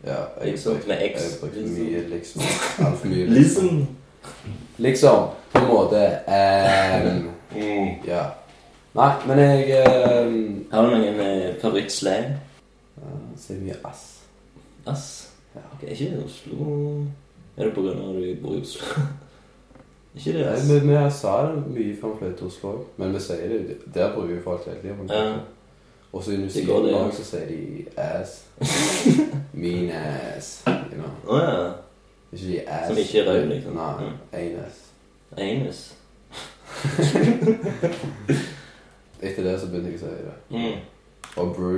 S2: Ja, jeg
S1: Liksom,
S2: brukte-
S1: med X,
S2: Jeg brukte
S1: liksom.
S2: mye liksom. Altfor mye liksom.
S1: [laughs] Liksom.
S2: Liksom. På en måte ehm,
S1: Mm.
S2: Ja. Nei, men jeg ehm,
S1: Har du noen eh, favorittslang?
S2: eh, Sier mye ass.
S1: Ass?
S2: Ja.
S1: Er ikke det Oslo Er det på grunn av at du bor i Oslo? [laughs] ikke det,
S2: Nei,
S1: ass?
S2: men men jeg sa det mye før vi flyttet til Oslo også. Men vi sier det Der bruker jo folk hele tiden.
S1: Ja.
S2: Og så i New
S1: Det går
S2: Zealand
S1: det, ja.
S2: også, så sier de
S1: [laughs]
S2: ass. Mean ass. You know.
S1: Å ja.
S2: Ikke de ass.
S1: Som ikke er rød, liksom.
S2: Nei.
S1: Mm.
S2: Anus.
S1: Anus.
S2: Etter det så begynte jeg å si det.
S1: Mm.
S2: Og bru.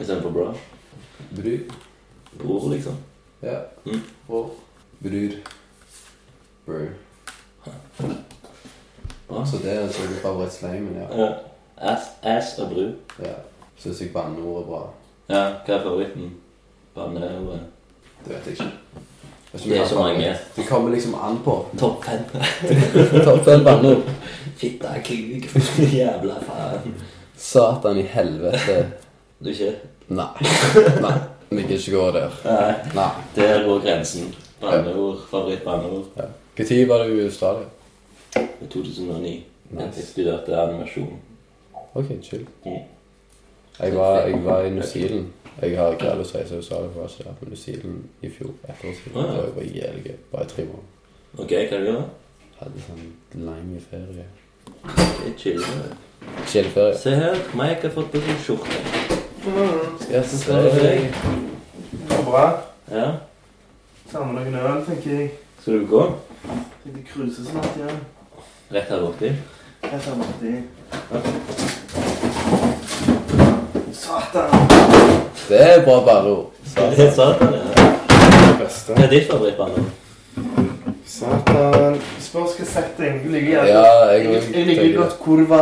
S1: Istedenfor bra.
S2: Bru.
S1: Bror, liksom.
S2: Ja.
S1: Mm.
S2: Og brur. Bru.
S1: Bra.
S2: Så det er altså selvfølgelig favorittslangen, ja.
S1: Ja. Ass, ass og bru.
S2: ja. Syns jeg banneord er bra.
S1: Ja, hva er favoritten? Banneordet.
S2: Det vet jeg ikke.
S1: Det
S2: Jeg vet ikke om jeg
S1: er
S2: har
S1: så mange.
S2: favoritt. Det kommer liksom an [laughs] på.
S1: Topp fem. [laughs]
S2: Topp fem banneord.
S1: Fitta, kuk, jævla faen.
S2: Satan i helvete.
S1: Du ikke?
S2: Nei. Nei. Vi kan ikke gå der.
S1: Nei.
S2: Nei.
S1: Der går grensen. Banneord. Favorittbanneord.
S2: Ja. Når var du i Australia?
S1: I 2009.
S2: Nice.
S1: Jeg studerte animasjon.
S2: Ok, chill.
S1: Mm.
S2: Jeg var, jeg var i New Zealand. Jeg har ikke alle lyst til å reise til Australia, for jeg var ikke der på New Zealand i fjor. Et år siden.
S1: Ah, ja.
S2: Det var bare jævlig gøy. Bare i tre måneder.
S1: Ok, hva gjør du? gjøre?
S2: Hadde sånn lang ferie.
S1: Jeg chiller.
S2: Chill ferie.
S1: Se her. Mike har fått på seg skjorte.
S2: Ja, så
S1: Hva er det for deg?
S4: Det går bra.
S1: Ja.
S4: Ta med noen øl, tenker jeg.
S1: Skal du gå?
S4: Skal de cruise snart igjen?
S1: Rett her borti.
S4: Jeg tar med de. Satan!
S2: Det er bra banneord.
S1: Det sa du, ja.
S4: Beste.
S1: Hva er ditt favorittbanneord?
S4: Satan. Spørs hva setting. Jeg liker
S2: Ja,
S4: gjerne
S2: jeg,
S4: Jeg, jeg liker godt kurva.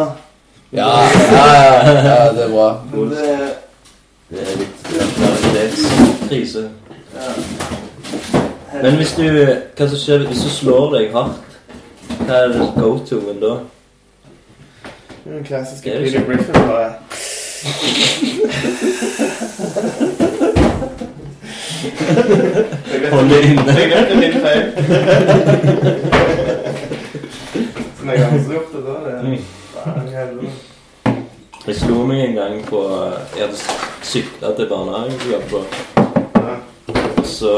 S2: Ja, ja, ja, ja, det er bra.
S4: Men det
S1: Det er litt graviditetskrise.
S4: ja.
S1: Men hvis du Hva som skjer hvis du slår deg hardt? Hva er go-toen da?
S4: Det er Den klassiske
S1: Det er det
S4: Peter
S1: ikke.
S4: Griffin, bare.
S1: Hold det inne.
S4: Jeg vet det er min [laughs] feil. Så når jeg har gjort det, da er det Faen, helvete.
S1: Jeg slo meg en gang på Jeg hadde sykla til barnehagen jeg jobbet på.
S4: Ja.
S1: Så så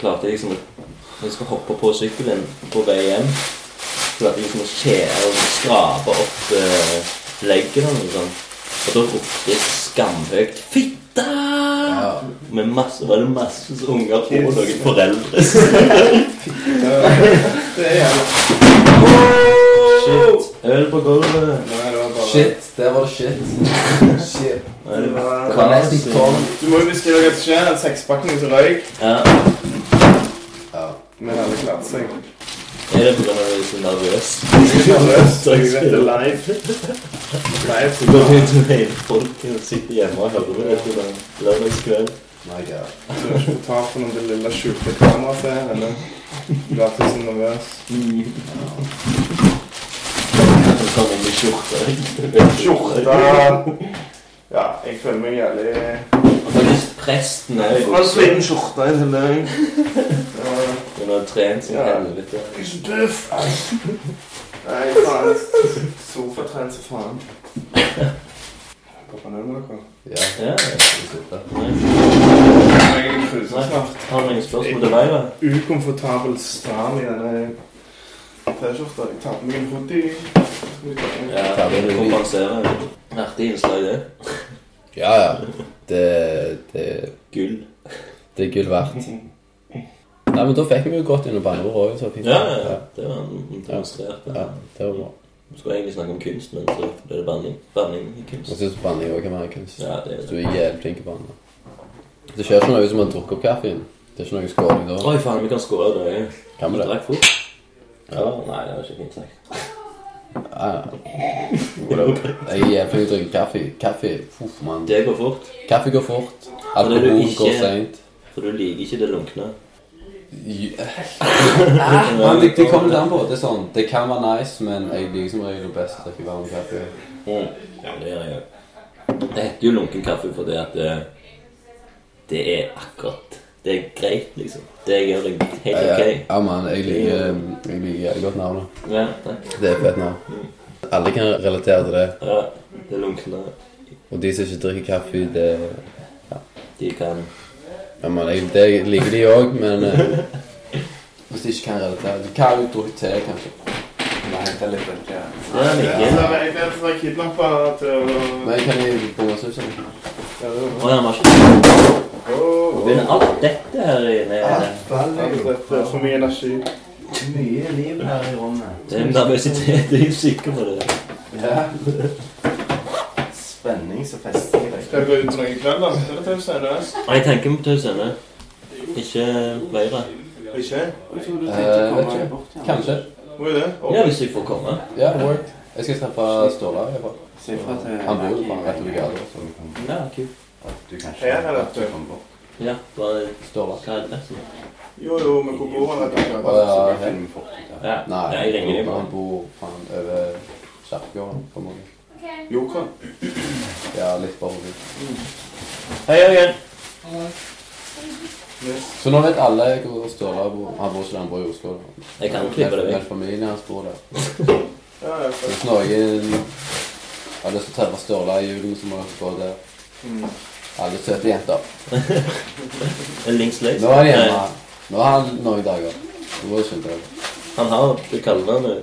S1: klarte jeg liksom Når jeg skal hoppe på sykkelen på vei hjem, klarte jeg liksom å skjære og skrape opp eh, leggen og noe sånt. Og da ropte jeg skamhøyt 'fitte!' Med masse, var det masse unger på og noen foreldre.
S4: Det er jævla
S1: Shit. Øl på gulvet.
S4: Nei, det var bare
S2: Shit. Der var det shit.
S4: Shit.
S1: Nei,
S4: Det
S2: Det
S4: var...
S2: var nesten tolv.
S4: Du må jo beskrive hva som skjer. Den sekspakningen som røyk.
S1: Ja.
S4: Men alle klarte seg.
S1: Er det pga. at du er så nervøs?
S4: Jeg er nervøs. Jeg vet det er live. Live.
S1: Du går rundt og hele folk og sitter hjemme og hører på dette den lørdagskvelden.
S2: My God.
S4: Du har ikke fått tak på noen det lille skjulte kameraet til henne. Du er alltid så nervøs.
S1: Så kommer jeg med skjorte.
S4: Skjorta Ja, jeg føler meg jævlig
S1: Og faktisk presten er jo
S4: skjorte i tillegg. Ja,
S1: Hun har trent som
S4: Ja.
S1: helvete.
S4: Jeg er så tøff. Nei, faen. Sofatrent som faen. Pappa nevner dere.
S2: Ja.
S1: Ja, Nei.
S4: Jeg er krusen snart.
S1: Har du noen spørsmål til meg, da?
S4: Ukomfortabel stram i denne T-skjorta. Jeg tar på meg en hoodie.
S1: Ja, det vil kompensere. Artig innslag, det.
S2: Ja, ja. Det, det,
S1: Gull.
S2: det er gull verdt. Nei, men da fikk vi jo godt under banneordet òg.
S1: Ja, ja, ja. Det var en demonstrert.
S2: ja. Det var bra.
S1: Vi skulle egentlig snakke om kunst, men så ble det banning. Banning i
S2: Jeg
S1: kunst.
S2: syns banning òg kan være en kunst.
S1: Ja, det er
S2: Hvis du
S1: det.
S2: er jævlig flink til å banne. Det skjer ikke noe hvis man drukker opp kaffen. Det er ikke noe skåring da.
S1: Oi, faen, vi kan score i dag.
S2: Kan vi det?
S1: Drakk fort. Ja, nei, det var ikke fint sagt.
S2: Ja, ja. Jeg er jævlig flink til å drikke kaffe. Kaffe uff, mann.
S1: Det går fort,
S2: Kaffe går fort.
S1: det er du
S2: Alkohol
S1: ikke-
S2: går seint.
S1: for du liker ikke det lunkne.
S2: Men det, det kommer litt an på. Det er sånn, det kan være nice, men jeg liker som regel best å drikke varm kaffe.
S1: Mm. Ja, det gjør jeg òg. Det heter jo lunken kaffe fordi at det, det er akkurat Det er greit, liksom. Det gjør deg helt ok.
S2: Eh, Ja, mann. Jeg liker jeg liker jævlig godt navnet.
S1: Ja, takk.
S2: Det er et fett navn. Alle kan relatere til det.
S1: Ja, det lunkne
S2: Og de som ikke drikker kaffe, det
S1: De kan
S2: Ja, men jeg, det liker de òg, men [laughs] eh, Hvis de ikke kan relatere Du kan jo drukke te, kanskje. Nei, det er litt ikke
S1: Ja,
S4: Jeg
S1: like.
S4: ble- jeg ble kidnappa til å
S2: Men jeg kan gi bonushusene.
S4: Ja, det var-
S1: Å, ja, man ikke
S4: Åh,
S1: begynner alt dette her inne.
S2: Ah.
S4: Det er eh, for mye energi.
S5: Mye liv her i rommet.
S1: Det er nervøsitet. Jeg er sikker på det.
S5: Ja. Spenning som fester i deg.
S4: Skal du gå ut på noe i kveld, da? Det er tøft, seriøst.
S1: Nei, Jeg tenker på Taus Ende. Ikke flere.
S4: Ikke?
S2: Eh, vet ikke. Kanskje.
S4: Hvor er det? Åh,
S1: Ja, hvis jeg får komme.
S2: Ja, work. Jeg skal treffe Ståle. i hvert fall.
S5: Si ifra til
S2: Han bor jo bare rett over gata. så
S1: Ja, kult.
S5: At du kan
S4: Her er dette.
S1: Ja, bare
S2: Ståle.
S1: hva er adressen?
S4: Jo, jo, men hvor bor han? vet du?
S2: Å, ja, her.
S1: Ja,
S2: Nei,
S1: ja, jeg ringer dem
S2: han
S1: bare.
S2: bor faen over Kjerkegården på mange.
S4: Joker.
S2: Ja, litt bakover.
S1: Hei, Jørgen.
S2: Så nå vet alle hvor Ståle bor. Han bor ikke der, han bor i Oslo. da.
S1: Jeg kan klippe det
S2: Men
S1: vekk.
S2: familien hans bor der.
S4: Ja, ja,
S2: Så
S4: for-
S2: Hvis noen har lyst til å treffe Ståle i julen, så må dere gå der.
S4: Mm.
S2: Alle søte jenter.
S1: En links lace.
S2: Nå er han hjemme. Nå har han noen dager. Nå må du skynde deg.
S1: Han har det kallenavnet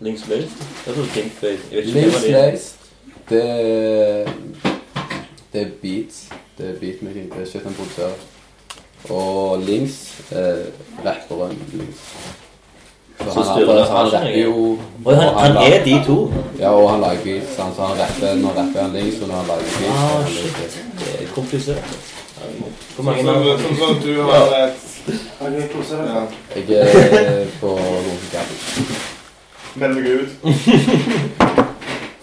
S1: Links Lace. Jeg tror Pink Face. Jeg vet ikke hvem
S2: Lil
S1: av de er.
S2: Slice, det er Det er beats. Det er beatmaking. Det er shit han produserer. Og Links eh, rapperen Links. Så han,
S1: styrer
S2: rapper-
S1: det
S2: han
S1: her,
S2: rapper jo
S1: Oi, han, han
S2: la-
S1: er de to.
S2: Ja, og han lager beats. sant? Så han rapper når han rapper han Links, og når han lager beats.
S1: Ah,
S2: han lager
S1: shit.
S2: beats.
S1: Det er komplisert. altså. Hvor
S4: Sånn
S1: mange
S4: som-
S1: navn?
S4: sånn som du har et Ja.
S2: Jeg er på Rosenkamp.
S4: Meld deg ut.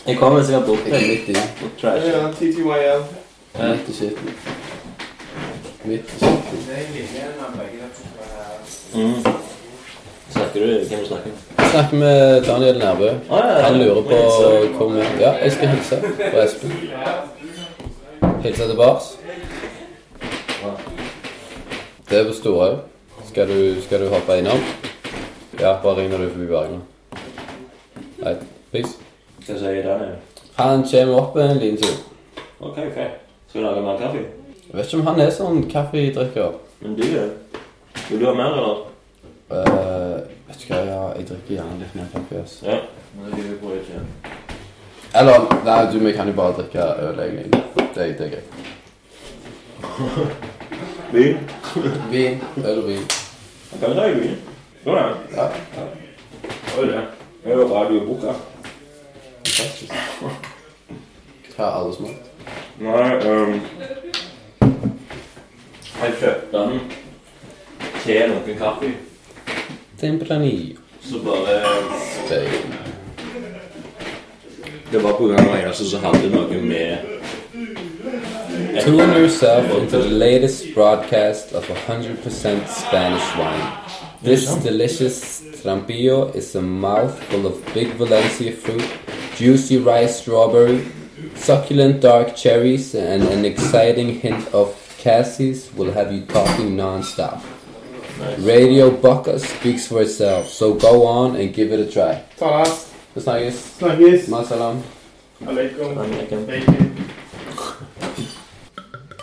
S1: Jeg kommer sikkert bort
S2: Jeg er
S1: til
S2: midt i.
S4: Ja,
S1: trash.
S4: ja, TTYL.
S2: Midt i skitten. Midt i skitten.
S1: Mm. Snakker du Hvem du snakker med?
S2: Jeg snakker med Daniel Nærbø.
S1: Å, ja, ja.
S2: Han lurer på
S1: Må jeg
S2: hvor vi Ja, jeg skal hilse på Espen. Hilse til bars. Det er på Storhaug. Skal, du- skal du hoppe innom? Ja, bare ring når du er forbi Bergen. Nei, please.
S1: Hva sier Daniel?
S2: Han kommer opp en liten tur.
S1: OK, OK. Skal du lage mer kaffe?
S2: Jeg vet ikke om han er sånn kaffedrikker.
S1: Men du gjør det. Vil du ha mer, eller?
S2: Eh, vet du hva, ja, jeg drikker gjerne litt mer pappis.
S1: Ja. Nå driver vi på litt igjen.
S2: Eller nei, du, vi kan jo bare drikke øl, egentlig. Det, det er greit.
S1: Vin?
S2: Vin, øl og vin.
S1: Kan vi ta en vin? Jo, ja.
S2: Ja.
S1: Oi, det. Det er jo radioboka.
S2: Fantastisk. Hva har alle smakt?
S1: Nei, um, jeg kjøpte den til noen kaffe.
S2: Tempranillo.
S1: Så bare
S2: Bacon.
S1: Det var på grunn av en som hadde noe med
S2: Tune yourself into the latest broadcast of 100% Spanish wine. This delicious trampillo is a mouthful of big Valencia fruit, juicy rice strawberry, succulent dark cherries, and an exciting hint of cassis will have you talking non-stop. Radio Boca speaks for itself, so go on and give it a try.
S4: Talas.
S2: Det snakkes.
S4: Snakkes.
S2: Masalam.
S4: Aleikum.
S1: Anniken.
S4: Bacon.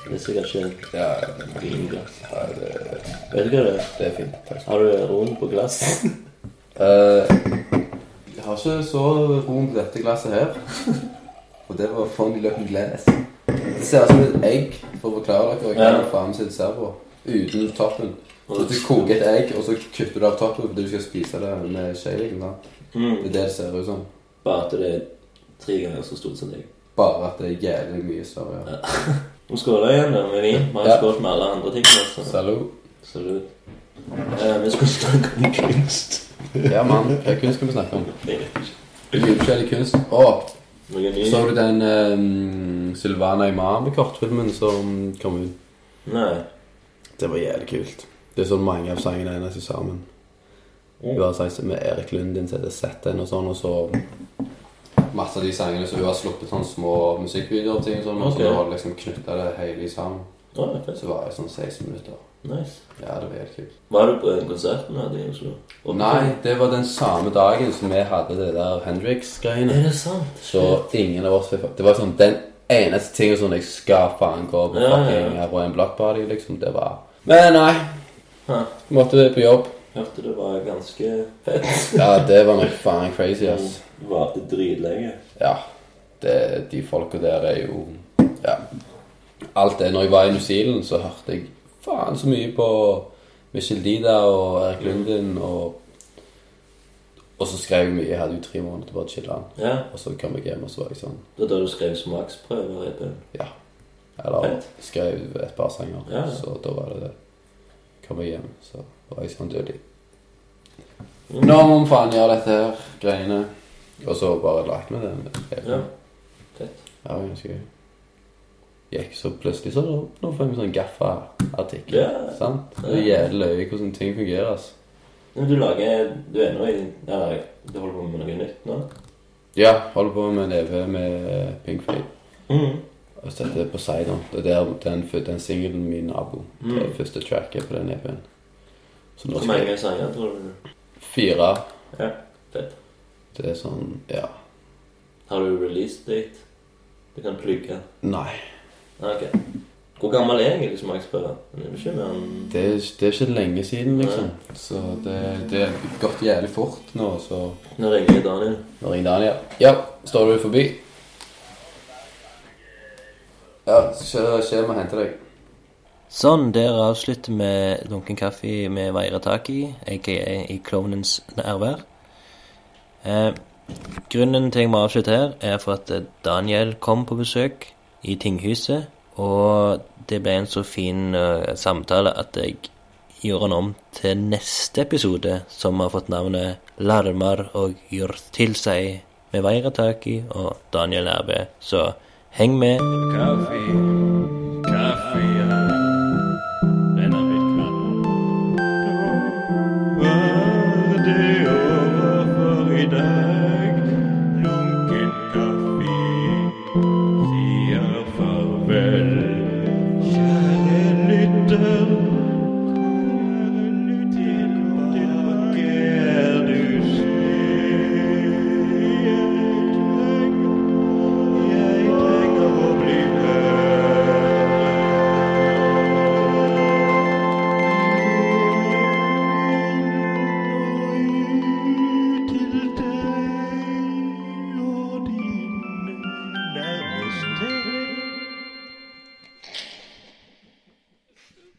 S1: Det er sikkert ikke
S2: Ja,
S1: et vinglass.
S2: ja, det,
S1: Vet du hva det er?
S2: det er fint. Takk.
S1: Har du roen på glass?
S2: Eh, jeg har ikke så rom på dette glasset her. [laughs] Og det var Fondy Løkken Glass. Det ser ut som et egg, for å forklare dere hva
S1: Ja.
S2: det faen sitt ser på. Uten toppen. Så du koker et egg, og så kutter du av toppen fordi du skal spise det med skje. Liksom, da. det
S1: Mm.
S2: er det det ser ut som.
S1: Bare at det er tre ganger så stort som deg.
S2: Bare at det er jævlig mye større. Ja.
S1: Nå skåler jeg igjen da, med vin. Vi har
S2: Ja.
S1: skålt med alle andre ting. Også.
S2: Salut.
S1: Absolutt. Eh, vi skulle snakke om kunst.
S2: Ja, mann. Hva kunst skal vi snakke om?
S1: Det er ikke
S2: Mye forskjellig kunst. Å,
S1: Noe ny?
S2: så du den eh, Sylvana Imami-kortfilmen som kom ut?
S1: Nei.
S2: Det var jævlig kult. Det er sånn mange av sangene hennes er sammen.
S1: Mm.
S2: Hun har sagt med Erik Lundin så heter Sett den og sånn, og så masse av de sangene så hun har sluppet sånne små musikkvideoer og ting og sånn, og
S1: Ok.
S2: så har hun liksom knytta det hele sammen.
S1: Å, ok.
S2: Så var det sånn 16 minutter.
S1: Nice.
S2: Ja, det var jævlig kult.
S1: Var du på den konserten her i Oslo? Og-
S2: Nei, det var den samme dagen som vi hadde det der
S1: Er
S2: Hendrix-greiene.
S1: det sant?
S2: Så ingen av oss fikk Det var sånn den eneste tingen som jeg skal faen gå på
S1: Ja, ja, ja.
S2: fucking her på en blockparty, liksom. Det var Men nei.
S1: Hæ.
S2: Måtte vi på jobb.
S1: Hørte det var ganske fett.
S2: Ja, det var nok faen crazy, ass.
S1: Varte dritlenge.
S2: Ja. Det, de folka der er jo Ja. Alt det. Når jeg var i New Zealand, så hørte jeg faen så mye på Michel Dida og Erik Lundin og Og så skrev jeg mye. Jeg hadde jo tre måneder til bare å chille.
S1: Ja,
S2: Og så kom jeg hjem, og så var jeg sånn
S1: det var da du skrev smaksprøver i bønn.
S2: Ja. Eller
S1: Fett.
S2: skrev et par sanger.
S1: Ja, ja.
S2: Så da var det det. Kom jeg hjem, så var jeg sånn dødelig.
S1: Mm.
S2: Nå må vi faen gjøre dette her, greiene. Og så bare lagt med det. Jeg-
S1: Ja. Fett.
S2: Ja, det var ganske gøy. Gikk så plutselig så opp noe for en sånn gaffa-artikkel.
S1: Ja.
S2: Sant? Det er jævlig løye hvordan ting fungerer, altså.
S1: Men du lager Du er nå i Eller du holder på med noe nytt nå?
S2: Ja, holder på med en EP med Pink Floyd. Mm.
S1: Mhm.
S2: Og så heter det Poseidon. Det er der den, den singelen min, Abo. Det er
S1: Mm.
S2: første tracket på den EP-en. Så nå
S1: Hvor
S2: skal jeg
S1: mange sanger tror du?
S2: fire.
S1: Ja, fett.
S2: Det er sånn, ja.
S1: Har du release date? Du kan plugge.
S2: Nei.
S1: Ah, ok. Hvor gammel er egentlig smaksprøven? Den er jo ikke mer enn
S2: Det er, det er ikke lenge siden, liksom. Så det, det er gått jævlig fort nå, så
S1: Nå ringer jeg Daniel.
S2: Nå ringer Daniel. Ja, står du forbi? Ja, skjer med å hente deg.
S1: Sånn, der avslutter vi Dunken kaffe med Veira Taki, aka i klovnens nærvær. Eh, grunnen til jeg må avslutte her, er for at eh, Daniel kom på besøk i tinghuset, og det ble en så fin eh, samtale at jeg gjorde den om til neste episode, som har fått navnet Larmar og gjør til seg med Veira Taki og Daniel Nærbø. Så heng med.
S3: Coffee.